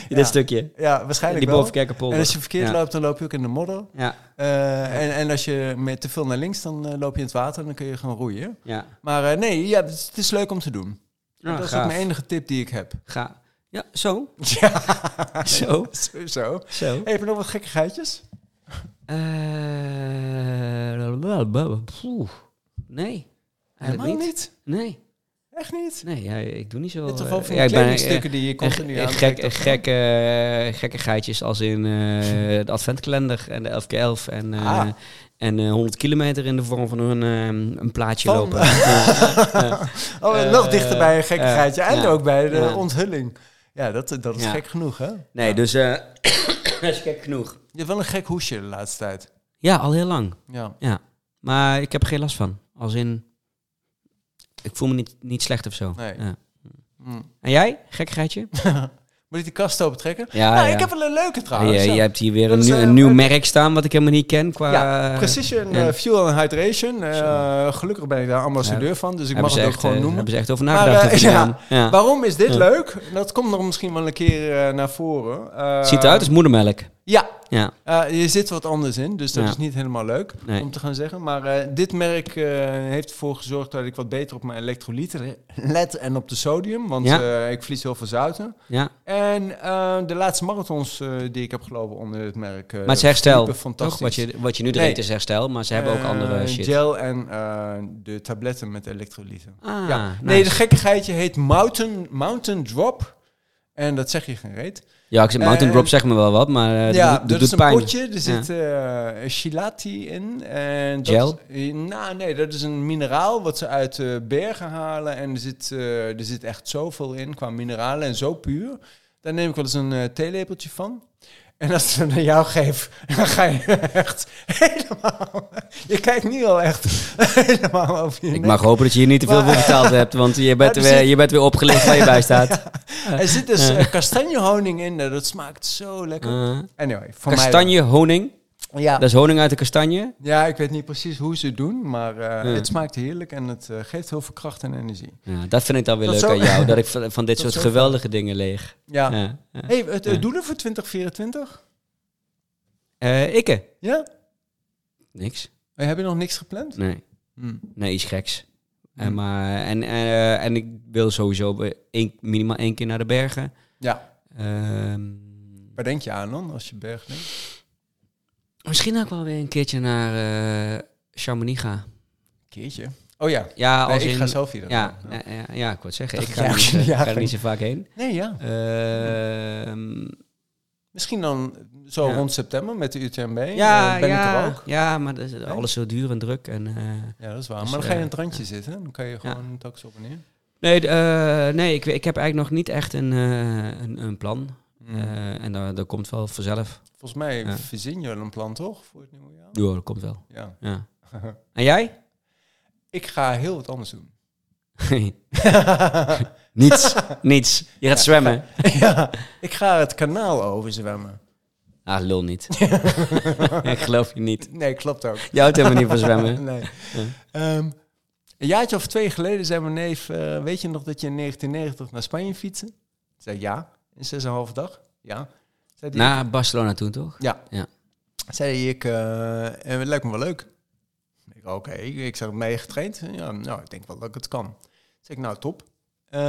S1: In dit stukje.
S2: Ja, waarschijnlijk
S1: Die
S2: wel.
S1: bovenkerkenpolder.
S2: En als je verkeerd
S1: Ja.
S2: loopt, dan loop je ook in de modder.
S1: Ja,
S2: Eh, en, en als je met te veel naar links, dan eh, loop je in het water en dan kun je gewoon roeien.
S1: ja.
S2: Maar eh, nee, ja, het is- het is leuk om te doen.
S1: Nou,
S2: dat is
S1: gaaf.
S2: ook mijn enige tip die ik heb. [LAUGHS]
S1: Ga. Ja, zo.
S2: Ja,
S1: [LAUGHS] Zo.
S2: sowieso.
S1: Zo.
S2: Even nog wat gekkigheidjes.
S1: Eh, poeh. nee. Eigenlijk
S2: Helemaal niet.
S1: niet. Nee.
S2: Echt niet.
S1: Nee, ja, ik doe niet zo...
S2: Je hebt toch
S1: eh,
S2: wel van
S1: ja,
S2: die
S1: ik ben, eh,
S2: kledingstukken die je
S1: eh,
S2: continu
S1: eh,
S2: aan
S1: gek, eh, gek, eh, gekkigheidjes als in eh, de adventkalender en de 11x11 en, eh,
S2: Ah.
S1: en eh, 100 kilometer in de vorm van een, ehm, een plaatje
S2: Van- [LAUGHS]
S1: lopen. Ja,
S2: Oh, en
S1: Eh,
S2: nog dichter bij een gekkigheidje.
S1: eh,
S2: en
S1: ja.
S2: ook bij de
S1: Ja.
S2: onthulling. Ja, dat, dat is
S1: Ja.
S2: gek genoeg, hè? Je
S1: nee, dus eh, [COUGHS] dat is gek genoeg.
S2: hebt wel een gek hoesje de laatste tijd.
S1: Ja, al heel lang.
S2: Ja.
S1: Ja. Maar ik heb er geen last van. Als in... ik voel me niet, niet slecht of zo.
S2: Nee.
S1: Ja.
S2: Mm.
S1: En jij,
S2: [LAUGHS]
S1: gekkigheidje?
S2: Moet ik die kast open trekken?
S1: Ah, Ja,
S2: nou,
S1: ja.
S2: ik heb wel een leuke
S1: Ja,
S2: trouwens.
S1: jij
S2: ja.
S1: hebt hier weer
S2: Dat
S1: een,
S2: is,
S1: nieuw-
S2: eh,
S1: een nieuw
S2: uit-
S1: merk staan wat ik helemaal niet ken. Qua,
S2: Ja, Precision
S1: en-
S2: eh, Fuel and Hydration. Eh,
S1: Zo.
S2: gelukkig ben ik daar ambassadeur van, dus ik
S1: hebben
S2: mag
S1: ze
S2: het ook
S1: echt,
S2: gewoon
S1: eh,
S2: noemen.
S1: Hebben ze echt over
S2: Maar,
S1: nagedacht.
S2: eh,
S1: of je
S2: [LAUGHS] ja.
S1: naam. ja.
S2: Waarom is dit
S1: Ja.
S2: leuk? Dat komt er misschien wel een keer eh, naar voren. Eh,
S1: Ziet eruit als moedermelk.
S2: Ja,
S1: Ja,
S2: eh, je zit wat anders in, dus dat
S1: Ja.
S2: is niet helemaal leuk
S1: Nee.
S2: om te gaan zeggen. Maar eh, dit merk eh, heeft ervoor gezorgd dat ik wat beter op mijn elektrolyten let en op de sodium, want
S1: Ja.
S2: eh, ik verlies heel veel zouten.
S1: ja.
S2: En eh, de laatste marathons eh, die ik heb gelopen onder het merk. eh,
S1: Maar het is herstel.
S2: verliepen Fantastisch.
S1: Toch? Wat, je, wat je nu drinkt
S2: Nee.
S1: is herstel, maar ze hebben ook
S2: Eh,
S1: andere shit.
S2: Gel en eh, de tabletten met elektrolyten.
S1: Ah,
S2: ja.
S1: nice.
S2: Nee, de gekkigheidje heet Mountain, mountain Drop. En dat zeg je geen reet.
S1: ja, ik zeg, Mountain
S2: eh,
S1: Drop zegt me wel wat, maar eh,
S2: ja,
S1: dat, doet-
S2: dat
S1: doet
S2: is een
S1: pijn.
S2: potje. Er zit eh chilati in. En dat
S1: Gel?
S2: is- eh, nou, nee, dat is een mineraal wat ze uit eh, bergen halen. En er zit, eh, er zit echt zoveel in qua mineralen en zo puur. Daar neem ik wel eens een eh, theelepeltje van. En als ik het aan jou geef, [LAUGHS] dan ga je echt [LAUGHS] helemaal... Je kijkt nu al echt [LAUGHS] helemaal over je
S1: Ik
S2: nek.
S1: mag hopen dat je hier niet te veel voor betaald hebt, want je bent,
S2: er
S1: weer,
S2: zit-
S1: je bent weer opgelicht waar je bij
S2: [LAUGHS]
S1: staat.
S2: Er zit dus eh, kastanjehoning in. eh, Dat smaakt zo lekker.
S1: Eh,
S2: Anyway, voor mij...
S1: kastanje honing.
S2: wel. Ja.
S1: Dat is honing uit de kastanje.
S2: Ja, ik weet niet precies hoe ze het doen, maar eh,
S1: Ja.
S2: het smaakt heerlijk en het eh, geeft heel veel kracht en energie.
S1: Ja, dat vind ik dan weer
S2: Dat
S1: leuk
S2: zo-
S1: aan jou,
S2: [LAUGHS]
S1: dat ik van, van dit
S2: Dat
S1: soort
S2: zo-
S1: geweldige dingen leeg.
S2: Ja.
S1: Ja, ja.
S2: Hey, het eh,
S1: Ja.
S2: doelen voor 2024?
S1: Eh, ikke?
S2: Ja?
S1: Niks.
S2: Hey, heb je nog niks gepland?
S1: Nee,
S2: Hm.
S1: nee iets geks. Eh,
S2: Hmm.
S1: maar, en, en, eh, en ik wil sowieso bij één- minimaal één keer naar de bergen.
S2: Ja.
S1: Ehm,
S2: Waar denk je aan dan als je berg denkt?
S1: Misschien ook wel weer een keertje naar eh, Chamonix gaan.
S2: Keertje. Oh ja,
S1: Ja,
S2: Nee,
S1: als
S2: ik
S1: in-
S2: ga zelf hier.
S1: Ja, ja, ja, ja, ik wou het zeggen.
S2: Dat
S1: Ik ga,
S2: jij
S1: er
S2: ook
S1: niet,
S2: een
S1: eh,
S2: jaar
S1: ga er
S2: ging.
S1: niet zo vaak heen.
S2: Nee, ja.
S1: Ehm,
S2: Misschien dan zo
S1: Ja.
S2: rond september met de UTMB.
S1: ja,
S2: eh, ben
S1: ja,
S2: ik er ook.
S1: ja, maar dat is alles zo duur en druk. En, eh,
S2: Ja, dat is waar.
S1: Dus,
S2: maar dan ga je
S1: eh,
S2: in het randje zitten. Dan kan je gewoon een taxi op en neer.
S1: nee, d- eh, nee ik, ik heb eigenlijk nog niet echt een, eh, een, een plan.
S2: Hm.
S1: Eh, en dat, dat komt wel vanzelf.
S2: Volgens mij
S1: ja.
S2: verzin je wel een plan, toch? Voor het nieuwe jaar?
S1: Ja, dat komt wel.
S2: Ja. [LAUGHS]
S1: Ja. En jij? [LAUGHS]
S2: Ik ga heel wat anders doen.
S1: niets, niets. Je gaat zwemmen.
S2: ja, ik ga het kanaal overzwemmen.
S1: Ah, lul niet.
S2: [LAUGHS]
S1: ik geloof je niet.
S2: Nee, klopt ook.
S1: Jij houdt helemaal niet van zwemmen.
S2: [LAUGHS] Nee. Ehm, een jaartje of twee geleden zei mijn neef... eh, weet je nog dat je in 1990 naar Spanje fietste? Ik zei ja, in 6,5 dag. Ja. Zei hij,
S1: Naar Barcelona toen toch?
S2: ja.
S1: Ja.
S2: Zei hij, ik, eh, eh, het lijkt me wel leuk. Ik, oké, ik, ik zeg, ben je getraind? Ja, nou, ik denk wel dat ik het kan. Zeg ik, nou, top.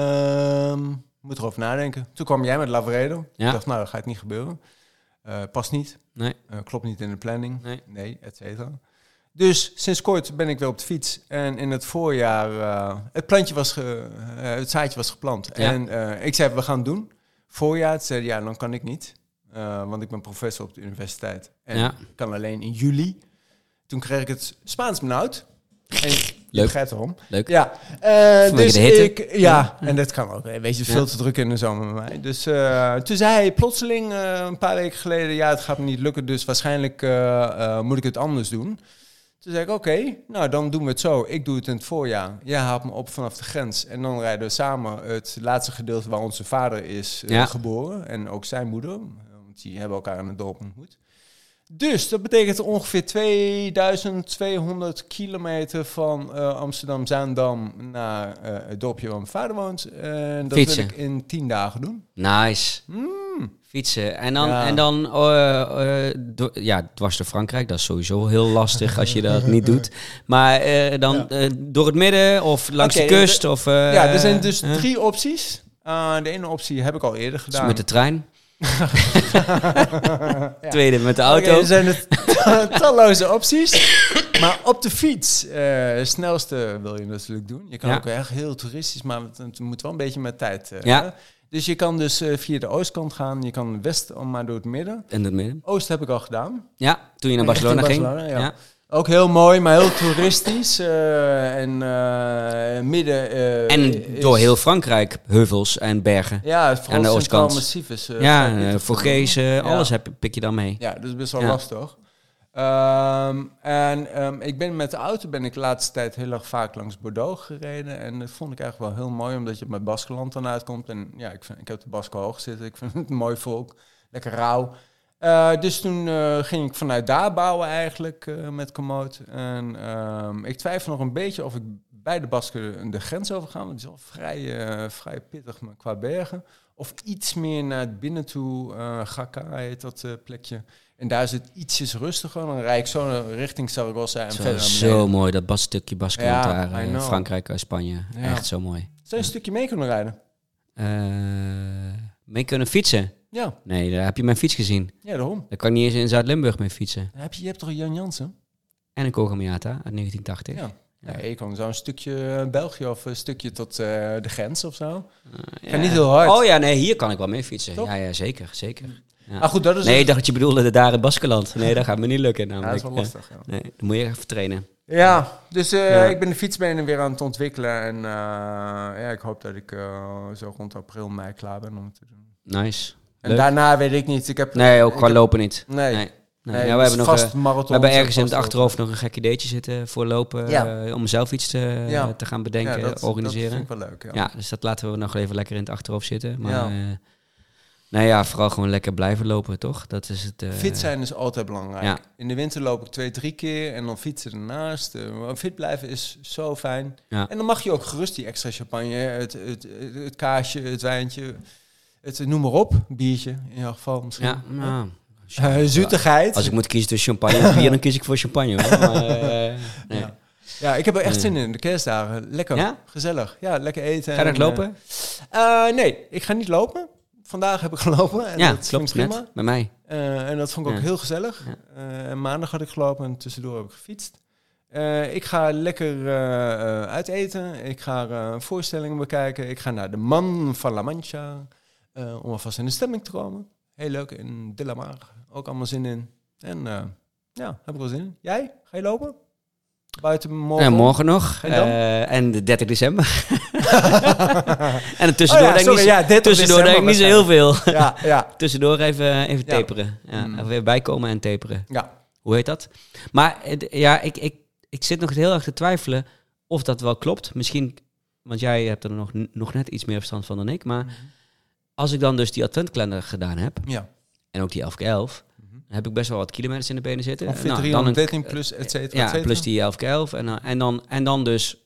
S2: Ehm, moet erover nadenken. Toen kwam jij met Lavaredo.
S1: Ja.
S2: Ik dacht, nou, dat gaat niet gebeuren. Eh past niet.
S1: Nee.
S2: Eh, klopt niet in de planning.
S1: Nee.
S2: et cetera. Dus sinds kort ben ik weer op de fiets. En in het voorjaar, eh, het plantje was, ge, eh, het zaadje was geplant.
S1: Ja.
S2: En eh, ik zei, we gaan het doen. Voorjaar, het zei, ja, dan kan ik niet. Eh, want ik ben professor op de universiteit. En
S1: Ja.
S2: ik kan alleen in juli. Toen kreeg ik het Spaans benauwd. En je
S1: Leuk.
S2: begrijpt waarom.
S1: Leuk.
S2: Ja, eh,
S1: Vanwege
S2: dus
S1: de hitte.
S2: ik, ja, en dat kan ook. hè. Weet je, veel te druk in de zomer bij mij. Dus eh, toen zei hij plotseling eh, een paar weken geleden, ja, het gaat me niet lukken, dus waarschijnlijk eh, eh, moet ik het anders doen. Toen zei ik, oké, nou dan doen we het zo. Ik doe het in het voorjaar. Jij haalt me op vanaf de grens. En dan rijden we samen het laatste gedeelte waar onze vader is eh,
S1: Ja.
S2: geboren. En ook zijn moeder. Want die hebben elkaar in het dorp ontmoet. Dus dat betekent ongeveer 2200 kilometer van eh, Amsterdam-Zaandam naar eh, het dorpje waar mijn vader woont. En dat
S1: Fietsen.
S2: wil ik in 10 dagen doen.
S1: Nice. Fietsen. En dan,
S2: Hmm. Ja.
S1: en dan eh, eh, do- ja, dwars door Frankrijk. Dat is sowieso heel lastig als je dat niet doet. Maar eh, dan
S2: Ja.
S1: eh, door het midden of langs
S2: Oké,
S1: de kust. Of, eh,
S2: ja, er zijn dus
S1: eh,
S2: drie opties. Eh, de ene optie heb ik al eerder
S1: dus
S2: gedaan.
S1: met de
S2: [LAUGHS]
S1: trein.
S2: Ja.
S1: Tweede met de
S2: Oké, dus-
S1: auto.
S2: er zijn het [LAUGHS] talloze opties. Maar op de fiets, eh snelste wil je natuurlijk doen. Je kan
S1: Ja.
S2: ook echt heel toeristisch, maar het, het moet wel een beetje met tijd. eh,
S1: Ja.
S2: hè? Dus je kan dus eh, via de oostkant gaan. Je kan west, om maar door het midden.
S1: En het midden.
S2: Oost heb ik al gedaan.
S1: Ja, toen je naar Barcelona
S2: Richting
S1: ging.
S2: Barcelona,
S1: ja.
S2: ja. Ook heel mooi, maar heel toeristisch. eh, en eh, midden... eh,
S1: En
S2: is-
S1: door heel Frankrijk. Heuvels en bergen.
S2: Ja, vooral
S1: aan de
S2: Centraal
S1: oostkant.
S2: Massief is...
S1: Ja,
S2: eh, vrij
S1: en, eh,
S2: pittig.
S1: Vogezen,
S2: Ja.
S1: alles heb, pik je dan mee.
S2: Ja, dat is best wel
S1: Ja.
S2: lastig. Um, en um, ik ben met de auto ben ik de laatste tijd heel erg vaak langs Bordeaux gereden. En dat vond ik eigenlijk wel heel mooi, omdat je bij Baskeland dan uitkomt. En ja, ik, vind, ik heb de Basken hoog zitten. Ik vind het een mooi volk. Lekker rauw. Uh, dus toen uh, ging ik vanuit daar bouwen eigenlijk uh, met Komoot. En ehm, ik twijfel nog een beetje of ik bij de Basken de grens over ga. Want het is al vrij, eh, vrij pittig qua bergen. Of iets meer naar het binnen toe. Gakka heet dat eh, plekje. En daar zit ietsjes rustiger. Dan rijd ik zo richting Saragossa en
S1: zo,
S2: verder.
S1: Zo mooi, dat bas stukje Baskeland ja, daar. in Frankrijk en Spanje. Ja. Echt zo mooi.
S2: Zou je een stukje mee kunnen rijden?
S1: Eh, mee kunnen fietsen?
S2: Ja.
S1: Nee, daar heb je mijn fiets gezien.
S2: Ja, daarom.
S1: Daar kan ik niet eens in Zuid-Limburg mee fietsen.
S2: Dan heb je, je hebt toch Jan Jansen?
S1: En een Kogamiata uit 1980.
S2: Ja. Ja, ik kan zo'n stukje eh, België of een stukje tot uh, de grens of zo. Uh, ja. Ga niet heel hard.
S1: Oh Eh, ja, nee, hier kan ik wel mee fietsen. Top. Ja, ja, zeker, zeker. Ja.
S2: Ah, goed, dat is
S1: nee, ik dacht dat je bedoelde daar in Baskeland. Nee, dat gaat me niet lukken namelijk.
S2: Ja, dat is wel lastig.
S1: Nee, dan moet je even trainen.
S2: Ja, dus uh, ja. ik ben de fietsbenen weer aan het ontwikkelen. En uh, ja, ik hoop dat ik eh, zo rond april, mei klaar ben om het te doen.
S1: Nice.
S2: En Leuk. daarna weet ik niet. Ik heb,
S1: nee, ook qua lopen niet.
S2: Nee. nee.
S1: nee. nee ja, we, hebben nog, vast marathon, we hebben ergens in het achterhoofd nog een gek ideetje zitten voor lopen. Ja. Uh, om zelf iets te, ja. te gaan bedenken,
S2: dat,
S1: eh, organiseren.
S2: Dat vind ik wel leuk.
S1: Ja. dus dat laten we nog even lekker in het achterhoofd zitten. Maar uh, nou ja, vooral gewoon lekker blijven lopen, toch? Dat is het. Uh,
S2: fit zijn is altijd belangrijk. In de winter loop ik twee, drie keer en dan fietsen ernaast. Eh, fit blijven is zo fijn. En dan mag je ook gerust die extra champagne, het, het, het, het kaasje, het wijntje het, noem maar op, biertje in jouw geval misschien.
S1: Ja, nou,
S2: uh, zoetigheid.
S1: Als ik moet kiezen tussen champagne en bier, dan kies ik voor champagne. Hoor. Maar,
S2: [LAUGHS]
S1: uh, nee.
S2: ja. ja. ik heb er echt zin in, de kerstdagen. Lekker, ja? gezellig. Ja, lekker eten.
S1: Mm. Ga je
S2: en,
S1: lopen?
S2: Uh, nee, ik ga niet lopen. Vandaag heb ik gelopen en
S1: ja,
S2: dat
S1: klopt
S2: prima. Net,
S1: bij mij.
S2: Eh, en dat vond ik ook heel gezellig. en maandag had ik gelopen en tussendoor heb ik gefietst. Uh, ik ga lekker uh, uiteten. Ik ga uh, voorstellingen bekijken. Ik ga naar de Man van La Mancha. eh, om alvast in de stemming te komen. Heel leuk. In De La Mar. Ook allemaal zin in. En eh, ja, heb ik wel zin in. Jij? Ga je lopen? Buiten morgen?
S1: Ja,
S2: [LAUGHS]
S1: morgen nog. En, en de 30 december. [LAUGHS]
S2: Oh
S1: en de tussendoor oh ja, sorry, denk ik niet, ja, tussendoor denk ik niet zo heel veel.
S2: Ja, ja.
S1: tussendoor even, even taperen. Mm. Even bijkomen en taperen.
S2: Ja.
S1: Hoe heet dat? Maar ja, ik, ik ik zit nog heel erg te twijfelen of dat wel klopt. Misschien, want jij hebt er nog, nog net iets meer verstand van dan ik. Maar mm -hmm. als ik dan dus die adventkalender gedaan heb,
S2: ja.
S1: en ook die 11 keer 11 mm -hmm. dan heb ik best wel wat kilometers in de benen zitten.
S2: Ongeveer nou, 313 plus, et cetera,
S1: Ja, et plus die 11 keer 11 en, dan, en, dan, en dan dus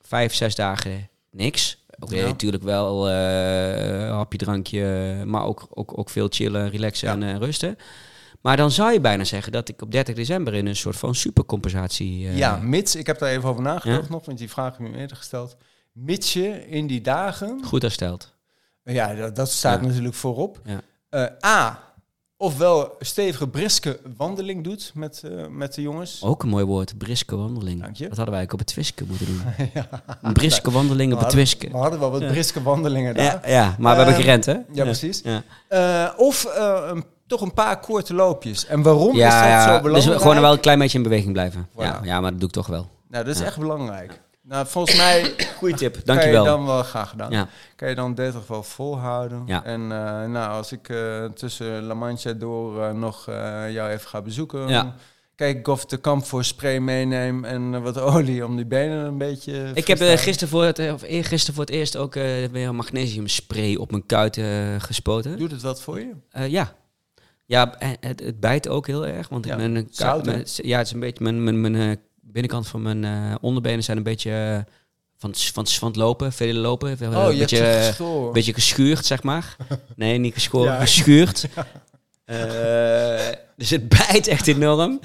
S1: vijf, zes dagen niks. Oké, okay, natuurlijk ja. wel uh, hapje, drankje, maar ook, ook, ook veel chillen, relaxen ja. en uh, rusten. Maar dan zou je bijna zeggen dat ik op 30 december in een soort van supercompensatie. Uh...
S2: Ja, mits, ik heb daar even over nagedacht ja? nog, want die vraag heb je me eerder gesteld. Mits je in die dagen.
S1: Goed hersteld.
S2: Ja, dat, dat staat ja. natuurlijk voorop.
S1: Ja.
S2: Uh, A. Ofwel stevige briske wandeling doet met, uh, met de jongens.
S1: Ook een mooi woord, briske wandeling.
S2: Dank je.
S1: Dat hadden wij eigenlijk op het Twiske moeten
S2: [LAUGHS]
S1: doen. Een briske wandeling op het Twiske.
S2: We hadden wel wat briske wandelingen daar.
S1: Ja, maar we hebben gerend, hè?
S2: Ja, precies. of eh, een toch een paar korte loopjes. En waarom ja, is dat ja, zo belangrijk?
S1: Dus gewoon wel een klein beetje in beweging blijven. Voilà. Ja, ja, maar dat doe ik toch wel.
S2: Nou, dat is echt belangrijk. Nou, volgens
S1: [COUGHS]
S2: mij...
S1: Goeie tip, dankjewel.
S2: Kan je dan wel graag gedaan. Kan je dan 30 wel volhouden. En uh, nou, als ik uh, tussen La Mancha door uh, nog jou even ga bezoeken... Kijk ik of de kamp voor spray meeneem en eh, wat olie om die benen een beetje.
S1: Ik heb eh, gisteren voor het, of eergisteren voor het eerst ook eh, weer magnesium spray op mijn kuiten gespoten. Eh,
S2: Doet het wat voor je?
S1: ja, ja, het, het bijt ook heel erg. Want ja, mijn,
S2: zout,
S1: mijn, ja, het is een beetje mijn, mijn, mijn binnenkant van mijn uh, onderbenen zijn een beetje uh, van, van, van het lopen, vele lopen. Veel,
S2: oh,
S1: Eh, een beetje,
S2: een
S1: beetje geschuurd, zeg
S2: [LAUGHS]
S1: maar. nee, niet geschoren, ja. geschuurd. Ja. Uh, dus het bijt echt enorm.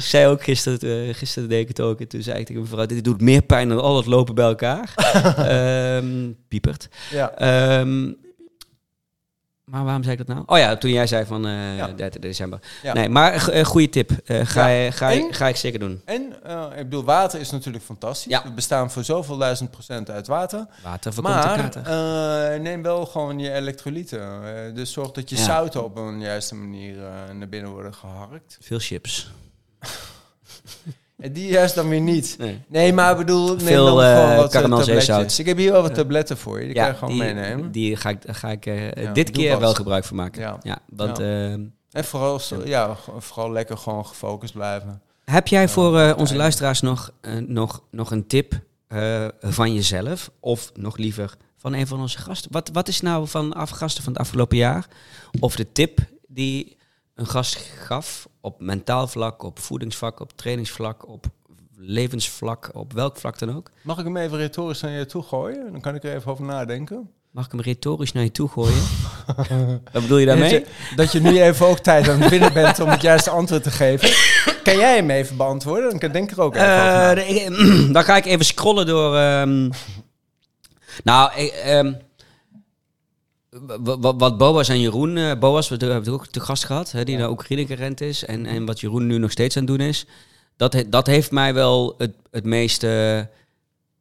S1: zij ook gisteren, eh, gisteren deed ik het ook. En toen zei ik tegen mevrouw, dit doet meer pijn dan al het lopen bij
S2: [LAUGHS]
S1: elkaar. um, piepert.
S2: Ja.
S1: Um, maar waarom zei ik dat nou? Oh ja, toen jij zei van uh, ja. 30 december. Ja. Nee, maar uh, goede tip. Uh, ga, ja. ga, en, ga ik zeker doen.
S2: En eh, ik bedoel, water is natuurlijk fantastisch. We bestaan voor zoveel duizend procent uit water.
S1: Water
S2: voorkomt maar, neem wel gewoon je elektrolyten. dus zorg dat je zouten op een juiste manier eh, naar binnen worden geharkt.
S1: Veel chips.
S2: En die juist dan weer niet. Nee, nee maar ik bedoel, neem Veel, dan gewoon uh, wat tabletjes. Ik heb hier wel wat tabletten voor je, die ja, kan je gewoon
S1: die,
S2: meenemen.
S1: eh, Die ga ik, ga ik uh, ja, dit keer vast. wel gebruik van maken. Ja, ja want... Uh,
S2: En vooral, ja, vooral lekker gewoon gefocust blijven.
S1: Heb jij voor uh, onze luisteraars nog, uh, nog, nog een tip uh, van jezelf? Of nog liever van een van onze gasten? Wat, wat is nou van af, gasten van het afgelopen jaar? Of de tip die een gast gaf op mentaal vlak, op voedingsvlak, op trainingsvlak, op levensvlak, op welk vlak dan ook?
S2: Mag ik hem even retorisch naar je toe gooien? Dan kan ik er even over nadenken.
S1: Mag ik hem retorisch naar je toe gooien? Wat bedoel je daarmee?
S2: Dat je, dat je nu even ook tijd aan het winnen bent om het juiste antwoord te geven. Kan jij hem even beantwoorden? Dan kan denk ik er ook even uh, over
S1: de, Dan ga Eh, ik [CLEARS THROAT] even scrollen door... Um, nou, um, wat Boas en Jeroen... Uh, Boas, we hebben ook te gast gehad, hè, die ja. naar Oekraïne gerend is. En, en wat Jeroen nu nog steeds aan het doen is. Dat, he, dat heeft mij wel het, het meeste...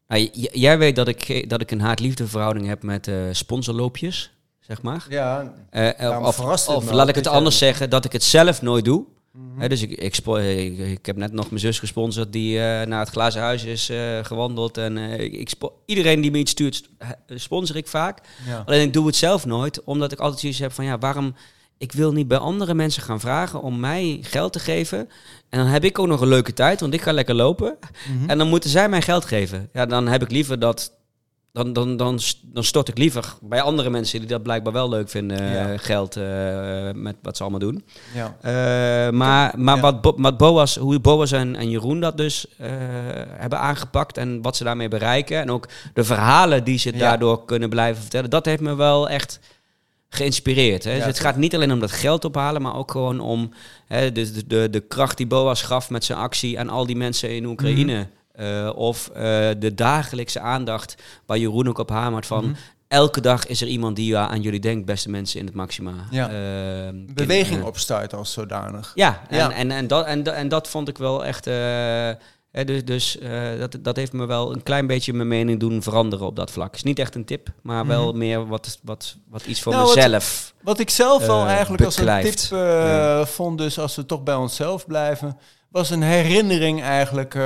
S1: Nou, jij weet dat ik, dat ik een haat-liefde verhouding heb met uh, sponsorloopjes, zeg maar.
S2: Ja,
S1: uh, of, of, of laat ik het anders zeggen, zeggen, dat ik het zelf nooit doe. Mm -hmm. He, dus ik, ik, ik, ik, heb net nog mijn zus gesponsord die uh, naar het glazen huis is eh, gewandeld. En ik, iedereen die me iets stuurt, eh, sponsor ik vaak. Ja. Alleen ik doe het zelf nooit, omdat ik altijd zoiets heb van ja, waarom ik wil niet bij andere mensen gaan vragen om mij geld te geven. En dan heb ik ook nog een leuke tijd, want ik ga lekker lopen. Mm -hmm. En dan moeten zij mij geld geven. Ja, dan heb ik liever dat. Dan, dan, dan, dan stort ik liever bij andere mensen die dat blijkbaar wel leuk vinden, ja. geld uh, met wat ze allemaal doen. Ja. Uh, maar maar ja. wat, Bo, wat Boas, hoe Boas en, en Jeroen dat dus uh, hebben aangepakt en wat ze daarmee bereiken. En ook de verhalen die ze ja. daardoor kunnen blijven vertellen. Dat heeft me wel echt geïnspireerd. Hè? Ja, dus het gaat niet alleen om dat geld ophalen, maar ook gewoon om hè, de, de, de kracht die Boas gaf met zijn actie aan al die mensen in Oekraïne. Mm -hmm. uh, of uh, de dagelijkse aandacht waar Jeroen ook op hamert van. Mm -hmm. Elke dag is er iemand die aan jullie denkt, beste mensen in het Maxima. Eh,
S2: Ja. Uh, Beweging opstuit als zodanig.
S1: Ja, en, ja. En, en, en, dat, en, en dat vond ik wel echt. He, dus dus uh, dat, dat heeft me wel een klein beetje mijn mening doen veranderen op dat vlak. Is niet echt een tip, maar wel mm -hmm. meer wat, wat, wat iets voor nou, mezelf.
S2: Wat, wat, ik zelf wel uh, eigenlijk beklijft. als een tip uh, ja. vond, dus als we toch bij onszelf blijven, was een herinnering eigenlijk eh,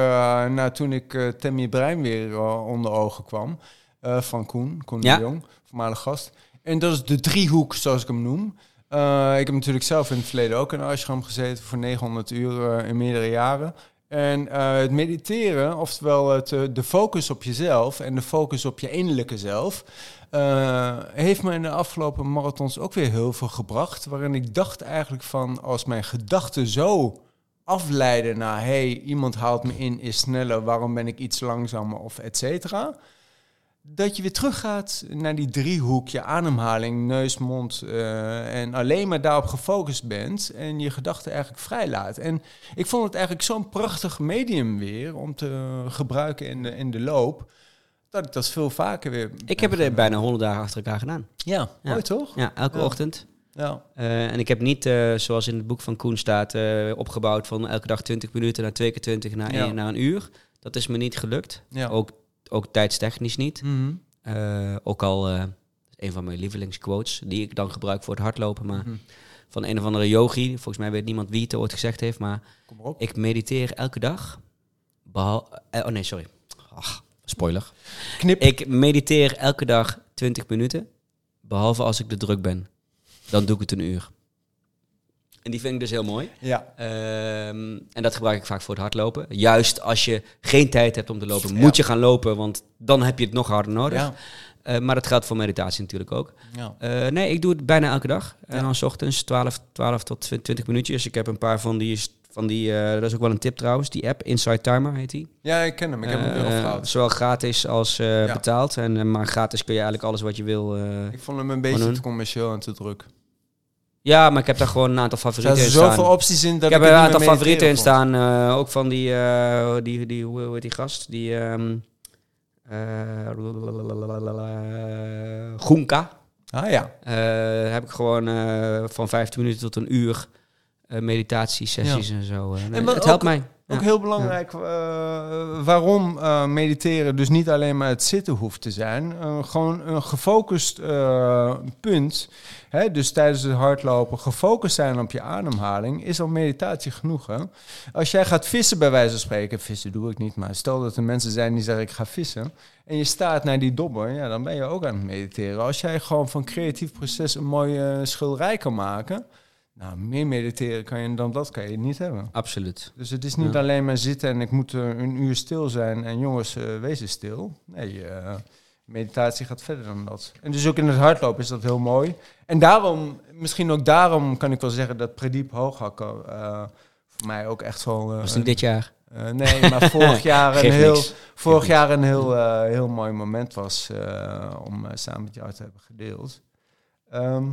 S2: naar toen ik Tammy Brein weer eh, onder ogen kwam. eh, van Koen, Koen ja. de Jong, voormalig gast. En dat is de driehoek, zoals ik hem noem. Eh, ik heb natuurlijk zelf in het verleden ook in ashram gezeten voor 900 uur eh, in meerdere jaren. En uh, het mediteren, oftewel het, eh, de focus op jezelf en de focus op je innerlijke zelf, uh, heeft me in de afgelopen marathons ook weer heel veel gebracht. Waarin ik dacht eigenlijk van, als mijn gedachten zo afleiden naar, hey, iemand haalt me in, is sneller, waarom ben ik iets langzamer of et cetera. Dat je weer teruggaat naar die driehoek, je ademhaling, neus, mond uh, en alleen maar daarop gefocust bent en je gedachten eigenlijk vrijlaat. En ik vond het eigenlijk zo'n prachtig medium weer om te gebruiken in de, in de loop, dat ik dat veel vaker weer...
S1: Ik heb het bijna honderd dagen achter elkaar gedaan.
S2: Ja, ja. mooi toch?
S1: Ja, elke
S2: ja.
S1: ochtend.
S2: Ja.
S1: Uh, en ik heb niet, uh, zoals in het boek van Koen staat, eh, opgebouwd van elke dag 20 minuten naar twee keer 20 naar, één, ja. naar een uur. Dat is me niet gelukt. Ja. Ook ook tijdstechnisch niet. Mm
S2: Mhm.
S1: -hmm. uh, ook al uh, een van mijn lievelingsquotes, die ik dan gebruik voor het hardlopen, maar mm -hmm. van een of andere yogi. Volgens mij weet niemand wie het ooit gezegd heeft, maar ik mediteer elke dag. Behal uh, oh nee, sorry. Ach, spoiler.
S2: Knip.
S1: Ik mediteer elke dag 20 minuten, behalve als ik de druk ben. Dan doe ik het een uur. En die vind ik dus heel mooi.
S2: Ja.
S1: Um, en dat gebruik ik vaak voor het hardlopen. Juist als je geen tijd hebt om te lopen, ja. moet je gaan lopen, want dan heb je het nog harder nodig. Ja. Uh, maar dat geldt voor meditatie natuurlijk ook. Ja. Uh, nee, ik doe het bijna elke dag. En dan s ochtends 12, 12 tot 20 minuutjes. Dus Ik heb een paar van die van die, uh, dat is ook wel een tip trouwens, die app Inside Timer heet die.
S2: Ja, ik ken hem. Ik heb hem uh,
S1: uh, Zowel gratis als ja. betaald. En, eh, maar gratis kun je eigenlijk alles wat je wil. eh,
S2: ik vond hem een beetje doen. te commercieel en te druk.
S1: Ja, maar ik heb daar gewoon een aantal favorieten
S2: er
S1: in staan.
S2: Er zoveel opties in dat
S1: ik heb er een aantal favorieten in staan. eh, ook van die, eh, die, die, hoe, hoe heet die gast? Die um, Goenka.
S2: Ah ja.
S1: Eh, heb ik gewoon eh, van 15 minuten tot een uur uh, meditatiesessies ja. en zo. Uh, en het helpt
S2: ook,
S1: mij.
S2: Ook ja. heel belangrijk uh, waarom mediteren dus niet alleen maar het zitten hoeft te zijn. eh, gewoon een gefocust eh, punt. Hè, dus tijdens het hardlopen gefocust zijn op je ademhaling is al meditatie genoeg. Hè? Als jij gaat vissen bij wijze van spreken, vissen doe ik niet, maar stel dat er mensen zijn die zeggen ik ga vissen. En je staat naar die dobber, ja, dan ben je ook aan het mediteren. Als jij gewoon van creatief proces een mooie schilderij kan eh, maken Nou, meer mediteren kan je dan dat kan je niet hebben.
S1: Absoluut.
S2: Dus het is niet
S1: Ja.
S2: alleen maar zitten en ik moet eh, een uur stil zijn en jongens, eh, wees eens stil. Nee, eh, meditatie gaat verder dan dat. En dus ook in het hardlopen is dat heel mooi. En daarom, misschien ook daarom kan ik wel zeggen dat Prediep Hooghakker eh, voor mij ook echt wel... eh,
S1: Was niet dit jaar.
S2: eh,
S1: [LAUGHS]
S2: nee, maar vorig jaar een
S1: Geeft
S2: heel,
S1: niks.
S2: vorig
S1: niks.
S2: jaar een heel, eh, heel mooi moment was eh, om eh, samen met jou te hebben gedeeld. Ehm,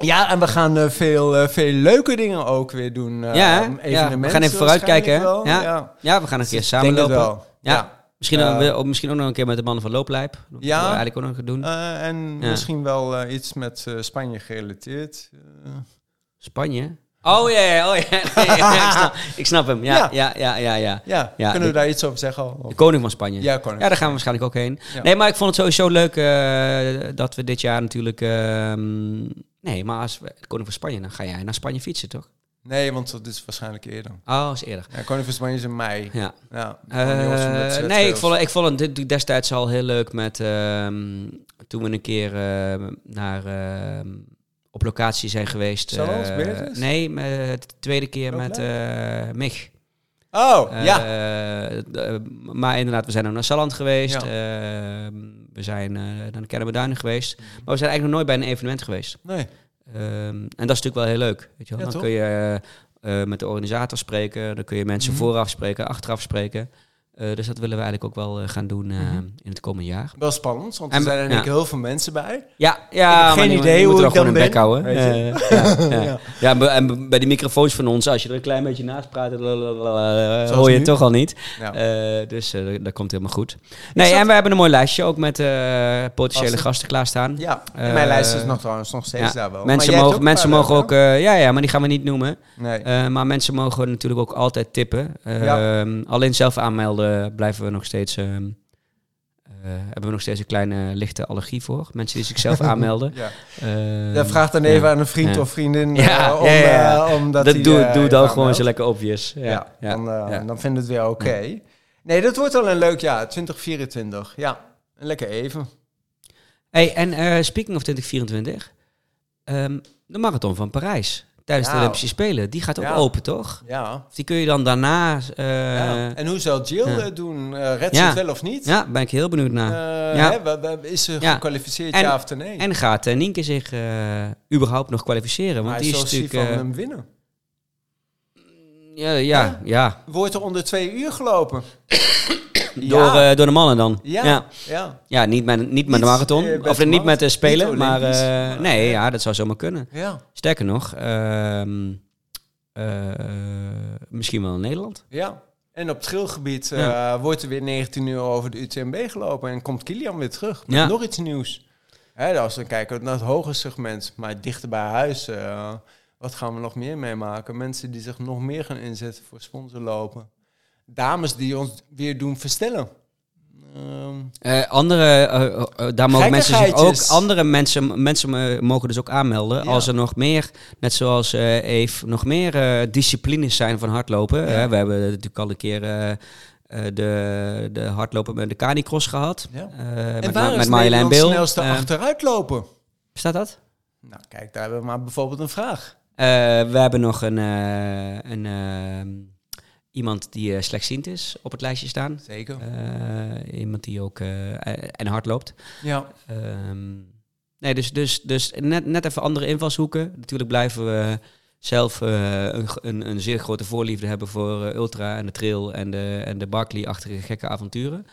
S2: ja, en we gaan eh, veel, eh, veel leuke dingen ook weer doen. eh,
S1: Ja, hè? Ja,
S2: evenementen
S1: we gaan even
S2: waarschijnlijk
S1: vooruitkijken, hè?
S2: wel,
S1: Ja.
S2: ja.
S1: Ja, we gaan een keer
S2: Ik
S1: samen
S2: denk het
S1: lopen.
S2: wel.
S1: Ja.
S2: Ja.
S1: Misschien,
S2: Eh,
S1: dan- we- of misschien ook nog een keer met de mannen van Looplijp. Dat willen we
S2: Ja.
S1: eigenlijk ook nog gaan doen.
S2: Eh, en
S1: Ja.
S2: misschien wel eh, iets met eh, Spanje gerelateerd. Eh,
S1: Spanje. Oh ja, ja, oh ja. [LAUGHS] Nee, ja, ik, snap, ik snap hem. Ja,
S2: Ja.
S1: ja, ja, ja, ja.
S2: ja,
S1: Ja,
S2: kunnen
S1: ik-
S2: we daar iets over zeggen? al? Of-
S1: De koning van Spanje.
S2: Ja, koning.
S1: Ja, daar gaan we waarschijnlijk ook heen.
S2: Ja.
S1: Nee, maar ik vond het sowieso leuk eh, dat we dit jaar natuurlijk... ehm, nee, maar als we, koning van Spanje, dan ga jij naar Spanje fietsen, toch?
S2: Nee, want dat is waarschijnlijk eerder.
S1: Oh, is eerder.
S2: Ja, Koning van Spanje is in mei.
S1: Ja.
S2: Ja, dan
S1: Eh,
S2: jongens van de Zet
S1: nee, ik
S2: Trails.
S1: vond, ik vond het dit- destijds al heel leuk met... ehm, toen we een keer ehm, naar... ehm, op locatie zijn geweest.
S2: Zo, als
S1: eh,
S2: Beatrice?
S1: nee, met, de tweede keer
S2: Ook
S1: met eh Mich.
S2: Oh, ja.
S1: Eh, d- eh, maar inderdaad, we zijn ook naar Salland geweest.
S2: Ja.
S1: eh, we zijn eh, naar de Kennemerduinen
S2: Mhm.
S1: geweest. Maar we zijn eigenlijk nog nooit bij een evenement geweest.
S2: Nee.
S1: Ehm, en dat is natuurlijk wel heel leuk. Weet je wel? dan
S2: Ja, toch?
S1: kun je eh, eh, met de organisator spreken. Dan kun je mensen
S2: Mhm.
S1: vooraf spreken, achteraf spreken. Eh, dus dat willen we eigenlijk ook wel eh, gaan doen eh,
S2: Mhm.
S1: in het komende jaar.
S2: Wel spannend, want
S1: En-
S2: er zijn eigenlijk
S1: ja.
S2: heel veel mensen bij.
S1: Ja, ja
S2: Ik heb geen
S1: maar die-
S2: idee
S1: die
S2: hoe
S1: moeten
S2: ik
S1: wel
S2: dan
S1: gewoon een bek
S2: ben.
S1: houden.
S2: Weet
S1: Eh, ja, ja.
S2: [LAUGHS] Ja.
S1: Ja, en be- en bij die microfoons van ons, als je er een klein beetje naast praat, lalalala,
S2: Zoals
S1: hoor je
S2: nu.
S1: het toch al niet.
S2: Ja.
S1: Eh, dus eh, dat- dat komt helemaal goed. Nee,
S2: zat-
S1: en we hebben een mooi lijstje ook met eh, potentiële
S2: Gasten.
S1: gasten klaarstaan.
S2: Ja, en
S1: Eh,
S2: mijn lijst is nog, trouwens nog steeds
S1: ja,
S2: daar wel. Maar
S1: Mensen
S2: jij hebt
S1: mogen,
S2: een
S1: mensen
S2: paar
S1: mogen ook,
S2: leuke,
S1: eh, ja, ja, maar die gaan we niet noemen.
S2: hè? Nee.
S1: Eh, maar mensen mogen natuurlijk ook altijd tippen. Eh,
S2: Ja.
S1: Alleen zelf aanmelden blijven we nog steeds, ehm, eh, hebben we nog steeds een kleine lichte allergie voor. Mensen die zichzelf aanmelden.
S2: ja.
S1: Eh,
S2: Ja, vraag dan
S1: ja.
S2: even aan een vriend
S1: Ja.
S2: of vriendin
S1: Ja,
S2: eh, om,
S1: ja, ja.
S2: eh, om dat
S1: dat
S2: die,
S1: doe,
S2: eh,
S1: doe
S2: even
S1: dan gewoon
S2: aanmeldt.
S1: zo lekker obvious. Ja,
S2: Ja,
S1: ja,
S2: Dan, eh,
S1: ja.
S2: dan vinden we het weer oké. Nee, dat wordt wel een leuk jaar, 2024. Ja, een lekker even.
S1: Hey, en eh, speaking of 2024, ehm, de marathon van Parijs tijdens de
S2: Ja.
S1: Olympische Spelen, die gaat ook
S2: Ja.
S1: open, toch?
S2: Ja.
S1: Of Die kun je dan daarna. eh,
S2: ja.
S1: ja.
S2: En hoe zal Jill
S1: ja.
S2: eh, doen? Eh, redt
S1: Ja.
S2: ze het wel of niet?
S1: ben ik heel benieuwd naar.
S2: Eh,
S1: Ja.
S2: hè, wa- wa- is ze
S1: Ja.
S2: gekwalificeerd,
S1: En-
S2: ja of nee?
S1: en gaat eh, Nienke zich eh, überhaupt nog kwalificeren? Want
S2: Maar
S1: die is
S2: zal Sifan
S1: natuurlijk. eh,
S2: hem winnen?
S1: ja, ja, ja.
S2: Wordt er onder twee uur gelopen?
S1: Door, eh, door de mannen dan.
S2: Ja.
S1: ja.
S2: Ja,
S1: Ja, niet met, niet met
S2: Niet,
S1: de marathon.
S2: eh, bij
S1: of
S2: de
S1: niet met de
S2: marathon.
S1: spelen.
S2: Niet
S1: maar
S2: olympisch.
S1: eh,
S2: Maar,
S1: nee,
S2: eh,
S1: ja, dat zou zomaar kunnen.
S2: ja,
S1: Sterker nog, ehm, eh, misschien wel in Nederland.
S2: ja. En op het trailgebied eh,
S1: Ja.
S2: wordt er weer 19 uur over de UTMB gelopen. En komt Kilian weer terug met
S1: Ja.
S2: nog iets nieuws. Hè, als we kijken naar het hoge segment, maar dichter bij huis. eh, wat gaan we nog meer meemaken? Mensen die zich nog meer gaan inzetten voor sponsorlopen. Dames die ons weer doen verstellen. Ehm,
S1: Eh, andere, eh, eh, eh, daar mogen mensen zich ook,
S2: Gekkigheidjes.
S1: andere mensen, mensen eh, mogen dus ook aanmelden.
S2: Ja.
S1: Als er nog meer, net zoals eh Eve, nog meer eh, disciplines zijn van hardlopen. Eh, we hebben natuurlijk al een keer eh, eh, de, de hardlopen met de canicross gehad.
S2: Ja.
S1: Eh,
S2: en
S1: met
S2: waar
S1: Ma-
S2: is
S1: met Marjolein
S2: Nederland
S1: Bil.
S2: snelste
S1: Eh,
S2: achteruitlopen?
S1: Staat dat?
S2: Nou, kijk, daar hebben we maar bijvoorbeeld een vraag.
S1: Eh, we hebben nog een, eh, een eh, iemand die eh, slechtziend is op het lijstje staan.
S2: Zeker.
S1: Eh, iemand die ook eh, en hard loopt.
S2: Ja.
S1: Ehm, nee, dus, dus, dus net, net even andere invalshoeken. Natuurlijk blijven we zelf eh, een, gro- een, een zeer grote voorliefde hebben voor eh, Ultra en de Trail en de, en de Barclay-achtige gekke avonturen.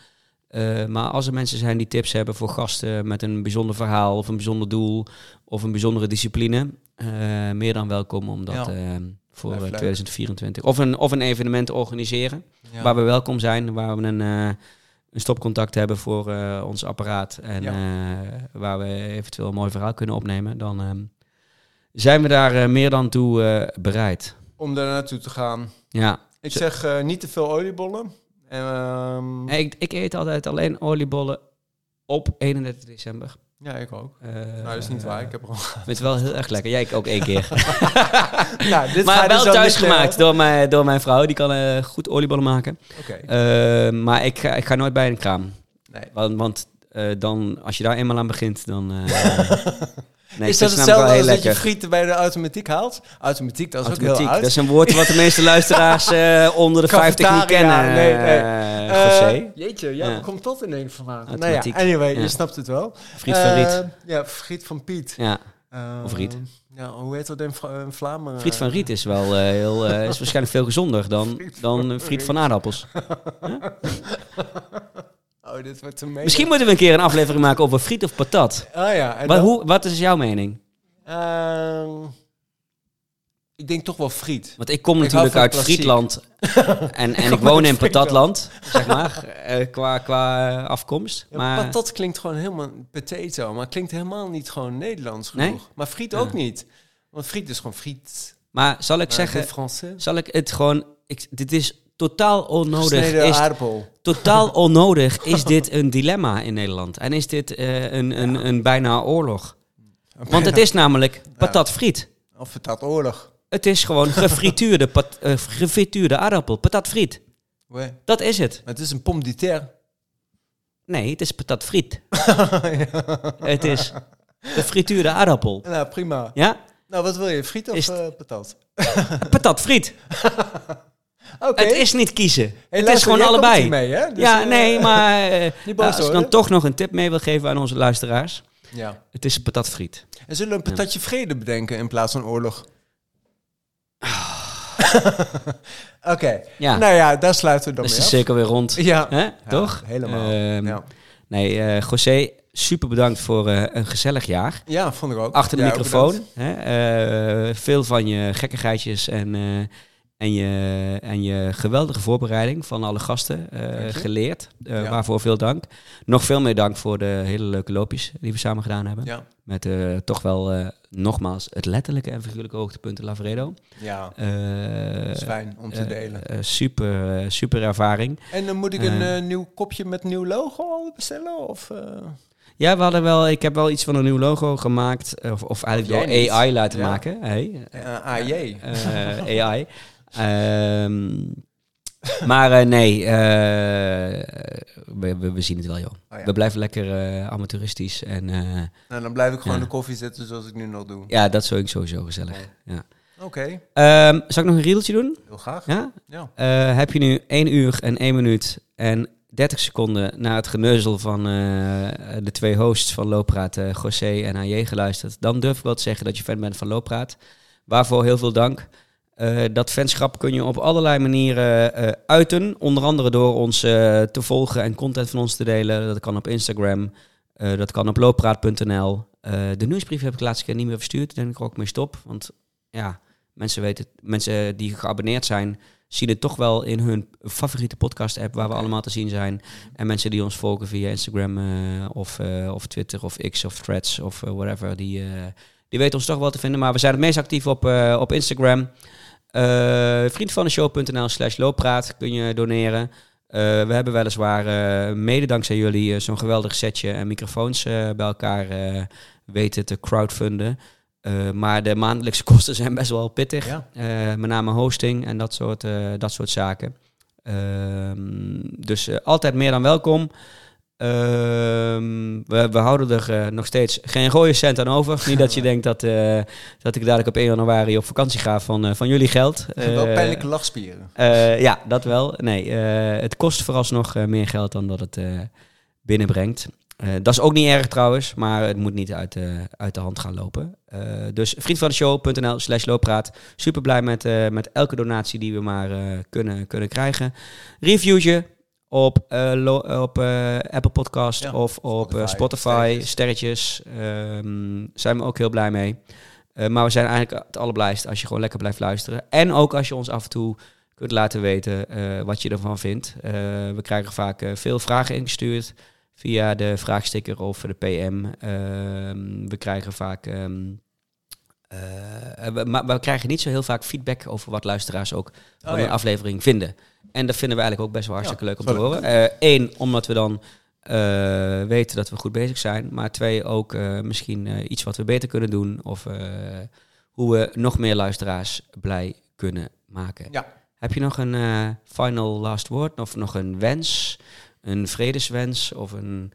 S1: Eh, maar als er mensen zijn die tips hebben voor gasten met een bijzonder verhaal of een bijzonder doel of een bijzondere discipline, eh, meer dan welkom om dat
S2: Ja.
S1: ehm, voor eh,
S2: Blijft leuk.
S1: 2024 of een, of een evenement te organiseren
S2: ja.
S1: waar we welkom zijn, waar we een, eh, een stopcontact hebben voor eh, ons apparaat en
S2: Ja.
S1: eh, waar we eventueel een mooi verhaal kunnen opnemen, dan ehm, zijn we daar eh, meer dan toe eh, bereid.
S2: Om daar naartoe te gaan.
S1: Ja.
S2: Ik
S1: Ze-
S2: zeg eh, niet te veel oliebollen. Ehm,
S1: Hey, Ik, ik eet altijd alleen oliebollen op 31 december.
S2: Ja, ik ook.
S1: Eh,
S2: nou, dat is niet waar. Ik heb er al.
S1: vind [LAUGHS] het wel heel erg lekker. Jij ik ook één
S2: [LAUGHS]
S1: keer.
S2: nou, dit
S1: maar
S2: gaat dus
S1: wel
S2: al
S1: thuis
S2: niet, eh,
S1: gemaakt door mijn, door mijn vrouw. Die kan eh, goed oliebollen maken.
S2: Oké.
S1: Eh, maar ik ga, ik ga nooit bij een kraam.
S2: Nee. [LAUGHS]
S1: Want, want eh, dan, als je daar eenmaal aan begint, dan... eh, Nee,
S2: is
S1: ik
S2: dat
S1: vind ze namelijk wel
S2: hetzelfde als
S1: heel
S2: dat je
S1: lekker.
S2: frieten bij de automatiek haalt? Automatiek, dat is ook
S1: Automatiek.
S2: heel oud.
S1: Dat is een woord wat de meeste luisteraars eh, onder de 50 niet
S2: Cafetaria,
S1: kennen.
S2: nee, nee.
S1: eh,
S2: Eh,
S1: José.
S2: jeetje, ja,
S1: Ja.
S2: waar komt dat in één vandaan? Nou ja,
S1: Automatiek.
S2: anyway,
S1: Ja.
S2: je snapt het wel.
S1: Friet van Riet.
S2: Eh, ja, friet van Piet.
S1: ja.
S2: Eh,
S1: Of Riet.
S2: Ja, hoe heet dat in Vla- in Vlaanderen?
S1: Friet van Riet is wel eh, heel, eh, is waarschijnlijk veel gezonder dan, dan eh, friet van aardappels.
S2: Oh, dit wordt een mening.
S1: Misschien moeten we een keer een aflevering maken over friet of patat.
S2: Ah ja. en
S1: Maar
S2: dan-
S1: hoe, wat is jouw mening?
S2: Ehm, ik denk toch wel friet.
S1: Want ik kom
S2: hou
S1: natuurlijk
S2: van
S1: uit
S2: klassiek.
S1: Frietland
S2: [LAUGHS]
S1: en, en ik
S2: kom uit
S1: woon in
S2: Frietland.
S1: patatland, zeg maar, eh, qua, qua eh, afkomst.
S2: Ja,
S1: maar
S2: patat klinkt gewoon helemaal potato, maar klinkt helemaal niet gewoon Nederlands genoeg.
S1: Nee?
S2: Maar friet
S1: Ja.
S2: ook niet. Want friet is gewoon friet.
S1: Maar zal ik eh,
S2: Maar
S1: zeggen,
S2: dit Français.
S1: zal ik het gewoon. Ik, dit is totaal onnodig.
S2: Gesneden
S1: Is,
S2: aardappel. [LAUGHS]
S1: totaal onnodig is dit een dilemma in Nederland. En is dit eh, een, een, een bijna oorlog. [LAUGHS] Want het is namelijk patat friet.
S2: Of patat oorlog.
S1: Het is gewoon
S2: [LAUGHS]
S1: gefrituurde, pat, eh, gefrituurde aardappel. Patat friet.
S2: Ouais.
S1: Dat is het.
S2: Maar het is een pomme de terre.
S1: Nee, het is patat
S2: [LAUGHS]
S1: friet. Het is gefrituurde aardappel.
S2: Nou, prima.
S1: Ja?
S2: Nou, wat wil je? Friet of
S1: Is-
S2: eh, patat?
S1: Patat friet.
S2: Oké.
S1: Het is niet kiezen.
S2: Hey,
S1: het
S2: luister,
S1: is gewoon
S2: jij komt
S1: allebei.
S2: hiermee, hè? Dus,
S1: ja,
S2: eh,
S1: nee,
S2: [LAUGHS]
S1: maar eh,
S2: niet boos
S1: nou, als ik dan
S2: worden.
S1: toch nog een tip mee wil geven aan onze luisteraars.
S2: Ja.
S1: Het is patat friet.
S2: En zullen we een patatje vrede bedenken in plaats van
S1: [SIGHS]
S2: oorlog? [LAUGHS] Oké.
S1: Ja,
S2: Nou ja, daar sluiten we dan
S1: dat is
S2: mee
S1: de
S2: af.
S1: cirkel weer rond.
S2: Ja.
S1: Hè? Toch?
S2: Ja, helemaal.
S1: Ehm,
S2: ja.
S1: Nee, eh José, super bedankt voor eh, een gezellig jaar.
S2: ja, vond ik ook.
S1: Achter de
S2: Ja, ook
S1: microfoon.
S2: bedankt.
S1: Hè? Eh, veel van je gekkigheidjes en, eh, en, je, en je geweldige voorbereiding van alle gasten eh,
S2: je.
S1: geleerd. Eh,
S2: Ja.
S1: Waarvoor veel dank. Nog veel meer dank voor de hele leuke loopjes die we samen gedaan hebben.
S2: Ja.
S1: Met eh, toch wel eh, nogmaals het letterlijke en figuurlijke hoogtepunt in Lavredo.
S2: ja, dat is
S1: Eh,
S2: fijn om te
S1: eh,
S2: delen.
S1: eh, super, eh, super ervaring.
S2: En dan moet ik een
S1: eh,
S2: eh, nieuw kopje met nieuw logo al bestellen? Of, eh?
S1: Ja, we hadden wel, ik heb wel iets van een nieuw logo gemaakt. eh, Of, of
S2: Of
S1: eigenlijk
S2: jij
S1: door
S2: niet.
S1: AI laten
S2: Ja.
S1: maken. Hey,
S2: Eh, AJ.
S1: eh, [LAUGHS] AI. Ehm, maar eh, nee, eh, we, we, we zien het wel, joh.
S2: Oh ja.
S1: We blijven lekker eh, amateuristisch. En eh,
S2: Nou, dan blijf ik gewoon
S1: Ja.
S2: de koffie zetten zoals ik nu nog doe.
S1: ja, dat zou ik sowieso gezellig. Ja.
S2: Oké,
S1: Ehm, zal ik nog een riedeltje doen?
S2: heel graag.
S1: Ja?
S2: Ja.
S1: Eh, heb je nu 1 uur en 1 minuut en 30 seconden na het geneuzel van eh, de twee hosts van Loopraad, eh José en AJ, geluisterd, dan durf ik wel te zeggen dat je fan bent van Loopraad. Waarvoor heel veel dank. Eh, dat fanschap kun je op allerlei manieren eh, uiten. Onder andere door ons eh, te volgen en content van ons te delen. Dat kan op Instagram, eh, dat kan op loopraad.nl. Eh, de nieuwsbrief heb ik de laatste keer niet meer verstuurd. Daar denk ik er ook mee stop. Want ja, mensen, weten, mensen die geabonneerd zijn, zien het toch wel in hun favoriete podcast-app waar we allemaal te zien zijn. En mensen die ons volgen via Instagram eh, of, eh, of Twitter of X of Threads of eh, whatever, die, eh, die weten ons toch wel te vinden. Maar we zijn het meest actief op, eh, op Instagram. Eh vriendvandeshow.nl slash looppraat kun je doneren. Eh, we hebben weliswaar, eh, mede dankzij jullie, eh, zo'n geweldig setje en microfoons eh, bij elkaar eh, weten te crowdfunden. Eh, maar de maandelijkse [LAUGHS] kosten zijn best wel pittig.
S2: Ja.
S1: Eh, met name hosting en dat soort, eh, dat soort zaken. Ehm, dus eh, altijd meer dan welkom. Ehm, we, we houden er eh, nog steeds geen rode cent aan over. Niet dat je denkt dat, eh, dat ik dadelijk op 1 januari op vakantie ga van, eh, van jullie geld.
S2: wel
S1: Eh,
S2: pijnlijke lachspieren.
S1: eh, ja, dat wel. Nee, eh, het kost vooralsnog eh, meer geld dan dat het eh, binnenbrengt. Eh, dat is ook niet erg trouwens, maar het moet niet uit de, uit de hand gaan lopen. Eh, dus vriendvandeshow.nl slash looppraat. Super blij met, eh, met elke donatie die we maar eh, kunnen, kunnen krijgen. Reviewtje op, eh, lo- eh, op eh, Apple Podcast
S2: Ja,
S1: of op eh,
S2: Spotify,
S1: Spotify. Sterretjes. ehm, zijn we ook heel blij mee. Eh, maar we zijn eigenlijk het allerblijst als je gewoon lekker blijft luisteren. En ook als je ons af en toe kunt laten weten eh, wat je ervan vindt. Eh, we krijgen vaak eh, veel vragen ingestuurd via de vraagsticker of de PM. Ehm, we krijgen vaak. ehm, eh, we, maar we krijgen niet zo heel vaak feedback over wat luisteraars ook van
S2: ja.
S1: een aflevering vinden. En dat vinden we eigenlijk ook best wel hartstikke leuk om te
S2: zou
S1: horen. Eén, omdat we dan eh, weten dat we goed bezig zijn. Maar twee, ook eh, misschien eh, iets wat we beter kunnen doen. Of eh, hoe we nog meer luisteraars blij kunnen maken.
S2: Ja.
S1: Heb je nog een eh, final last word? Of nog een wens? Een vredeswens? Of een,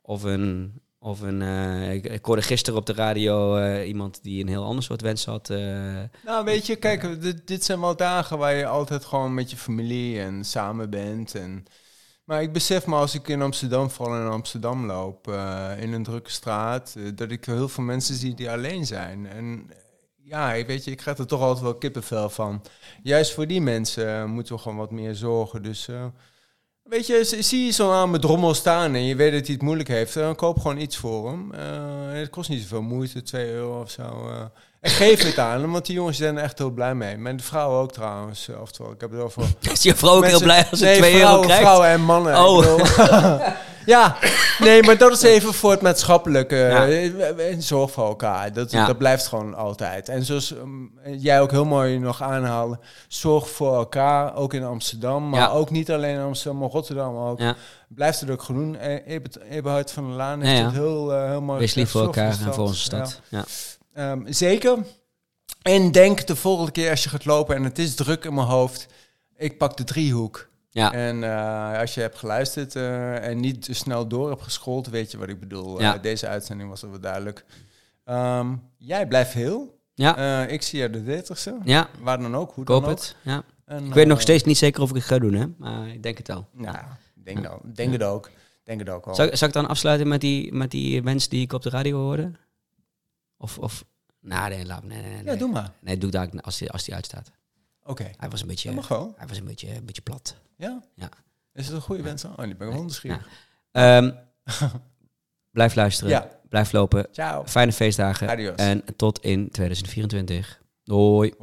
S1: of een Of een, eh, ik, ik hoorde gisteren op de radio eh, iemand die een heel ander soort wens had. eh, [LAUGHS]
S2: Nou, weet je, kijk, dit, dit zijn wel dagen waar je altijd gewoon met je familie en samen bent. En, maar ik besef me als ik in Amsterdam val en in Amsterdam loop, eh, in een drukke straat, eh, dat ik heel veel mensen zie die alleen zijn. En eh, ja, ik weet je, ik krijg er toch altijd wel kippenvel van. Juist voor die mensen eh, moeten we gewoon wat meer zorgen. Dus eh, weet je, z- zie je zo'n arme drommel staan en je weet dat hij het moeilijk heeft, dan koop gewoon iets voor hem. Eh, het kost niet zoveel moeite, 2 euro of zo. eh. En geef het aan hem, want die jongens zijn er echt heel blij mee. Mijn vrouw ook trouwens. eh, Oftewel, ik heb het over.
S1: is je vrouw ook heel
S2: Mensen-
S1: blij als ze
S2: nee,
S1: 2 euro
S2: vrouwen,
S1: krijgt?
S2: vrouwen en mannen.
S1: Oh.
S2: ik bedoel. [LAUGHS] ja, nee, maar dat is even voor het maatschappelijke. eh, En zorg voor elkaar. Dat,
S1: Ja.
S2: dat blijft gewoon altijd. En zoals ehm, jij ook heel mooi nog aanhaalde. Zorg voor elkaar, ook in Amsterdam. Maar
S1: Ja.
S2: ook niet alleen in Amsterdam, maar Rotterdam ook.
S1: Ja.
S2: Blijft het ook genoemd. Eh, Ebert- Eberhard van der Laan
S1: Ja,
S2: heeft
S1: ja.
S2: het heel, eh, heel mooi
S1: Wees lief
S2: gezegd.
S1: voor
S2: Zorg
S1: elkaar
S2: de
S1: en voor onze
S2: Ja.
S1: stad. Ja.
S2: Ehm, zeker. En denk de volgende keer als je gaat lopen en het is druk in mijn hoofd. Ik pak de driehoek.
S1: Ja.
S2: En eh, als je hebt geluisterd eh, en niet te snel door hebt geschoold, weet je wat ik bedoel.
S1: Ja.
S2: Eh, deze uitzending was al wel duidelijk. Ehm, jij blijft heel.
S1: Ja.
S2: Eh, ik zie je de dertigste.
S1: ja,
S2: Waar dan ook, hoe
S1: koop
S2: dan ook.
S1: het. Ja.
S2: En,
S1: Ik weet nog
S2: eh,
S1: steeds niet zeker of ik het ga doen, hè? maar ik denk het al.
S2: Nou, denk, dan, denk het ook. Denk het ook al.
S1: Zal, ik- zal ik dan afsluiten met die, met die wens die ik op de radio hoorde? Of, of nou nee, laat nee, nee, nee.
S2: Ja, doe maar.
S1: Nee, doe dat als die, als die uitstaat.
S2: Oké,
S1: Hij was een beetje,
S2: dat mag wel.
S1: hij was een beetje, een beetje plat.
S2: Ja?
S1: Ja.
S2: Is het een goede wens? dan? Oh, nu ben ik wel nieuwsgierig. [LAUGHS]
S1: Ehm, blijf luisteren,
S2: Ja.
S1: blijf lopen.
S2: Ciao.
S1: Eh, Fijne feestdagen
S2: Adios.
S1: en tot in 2024. Doei.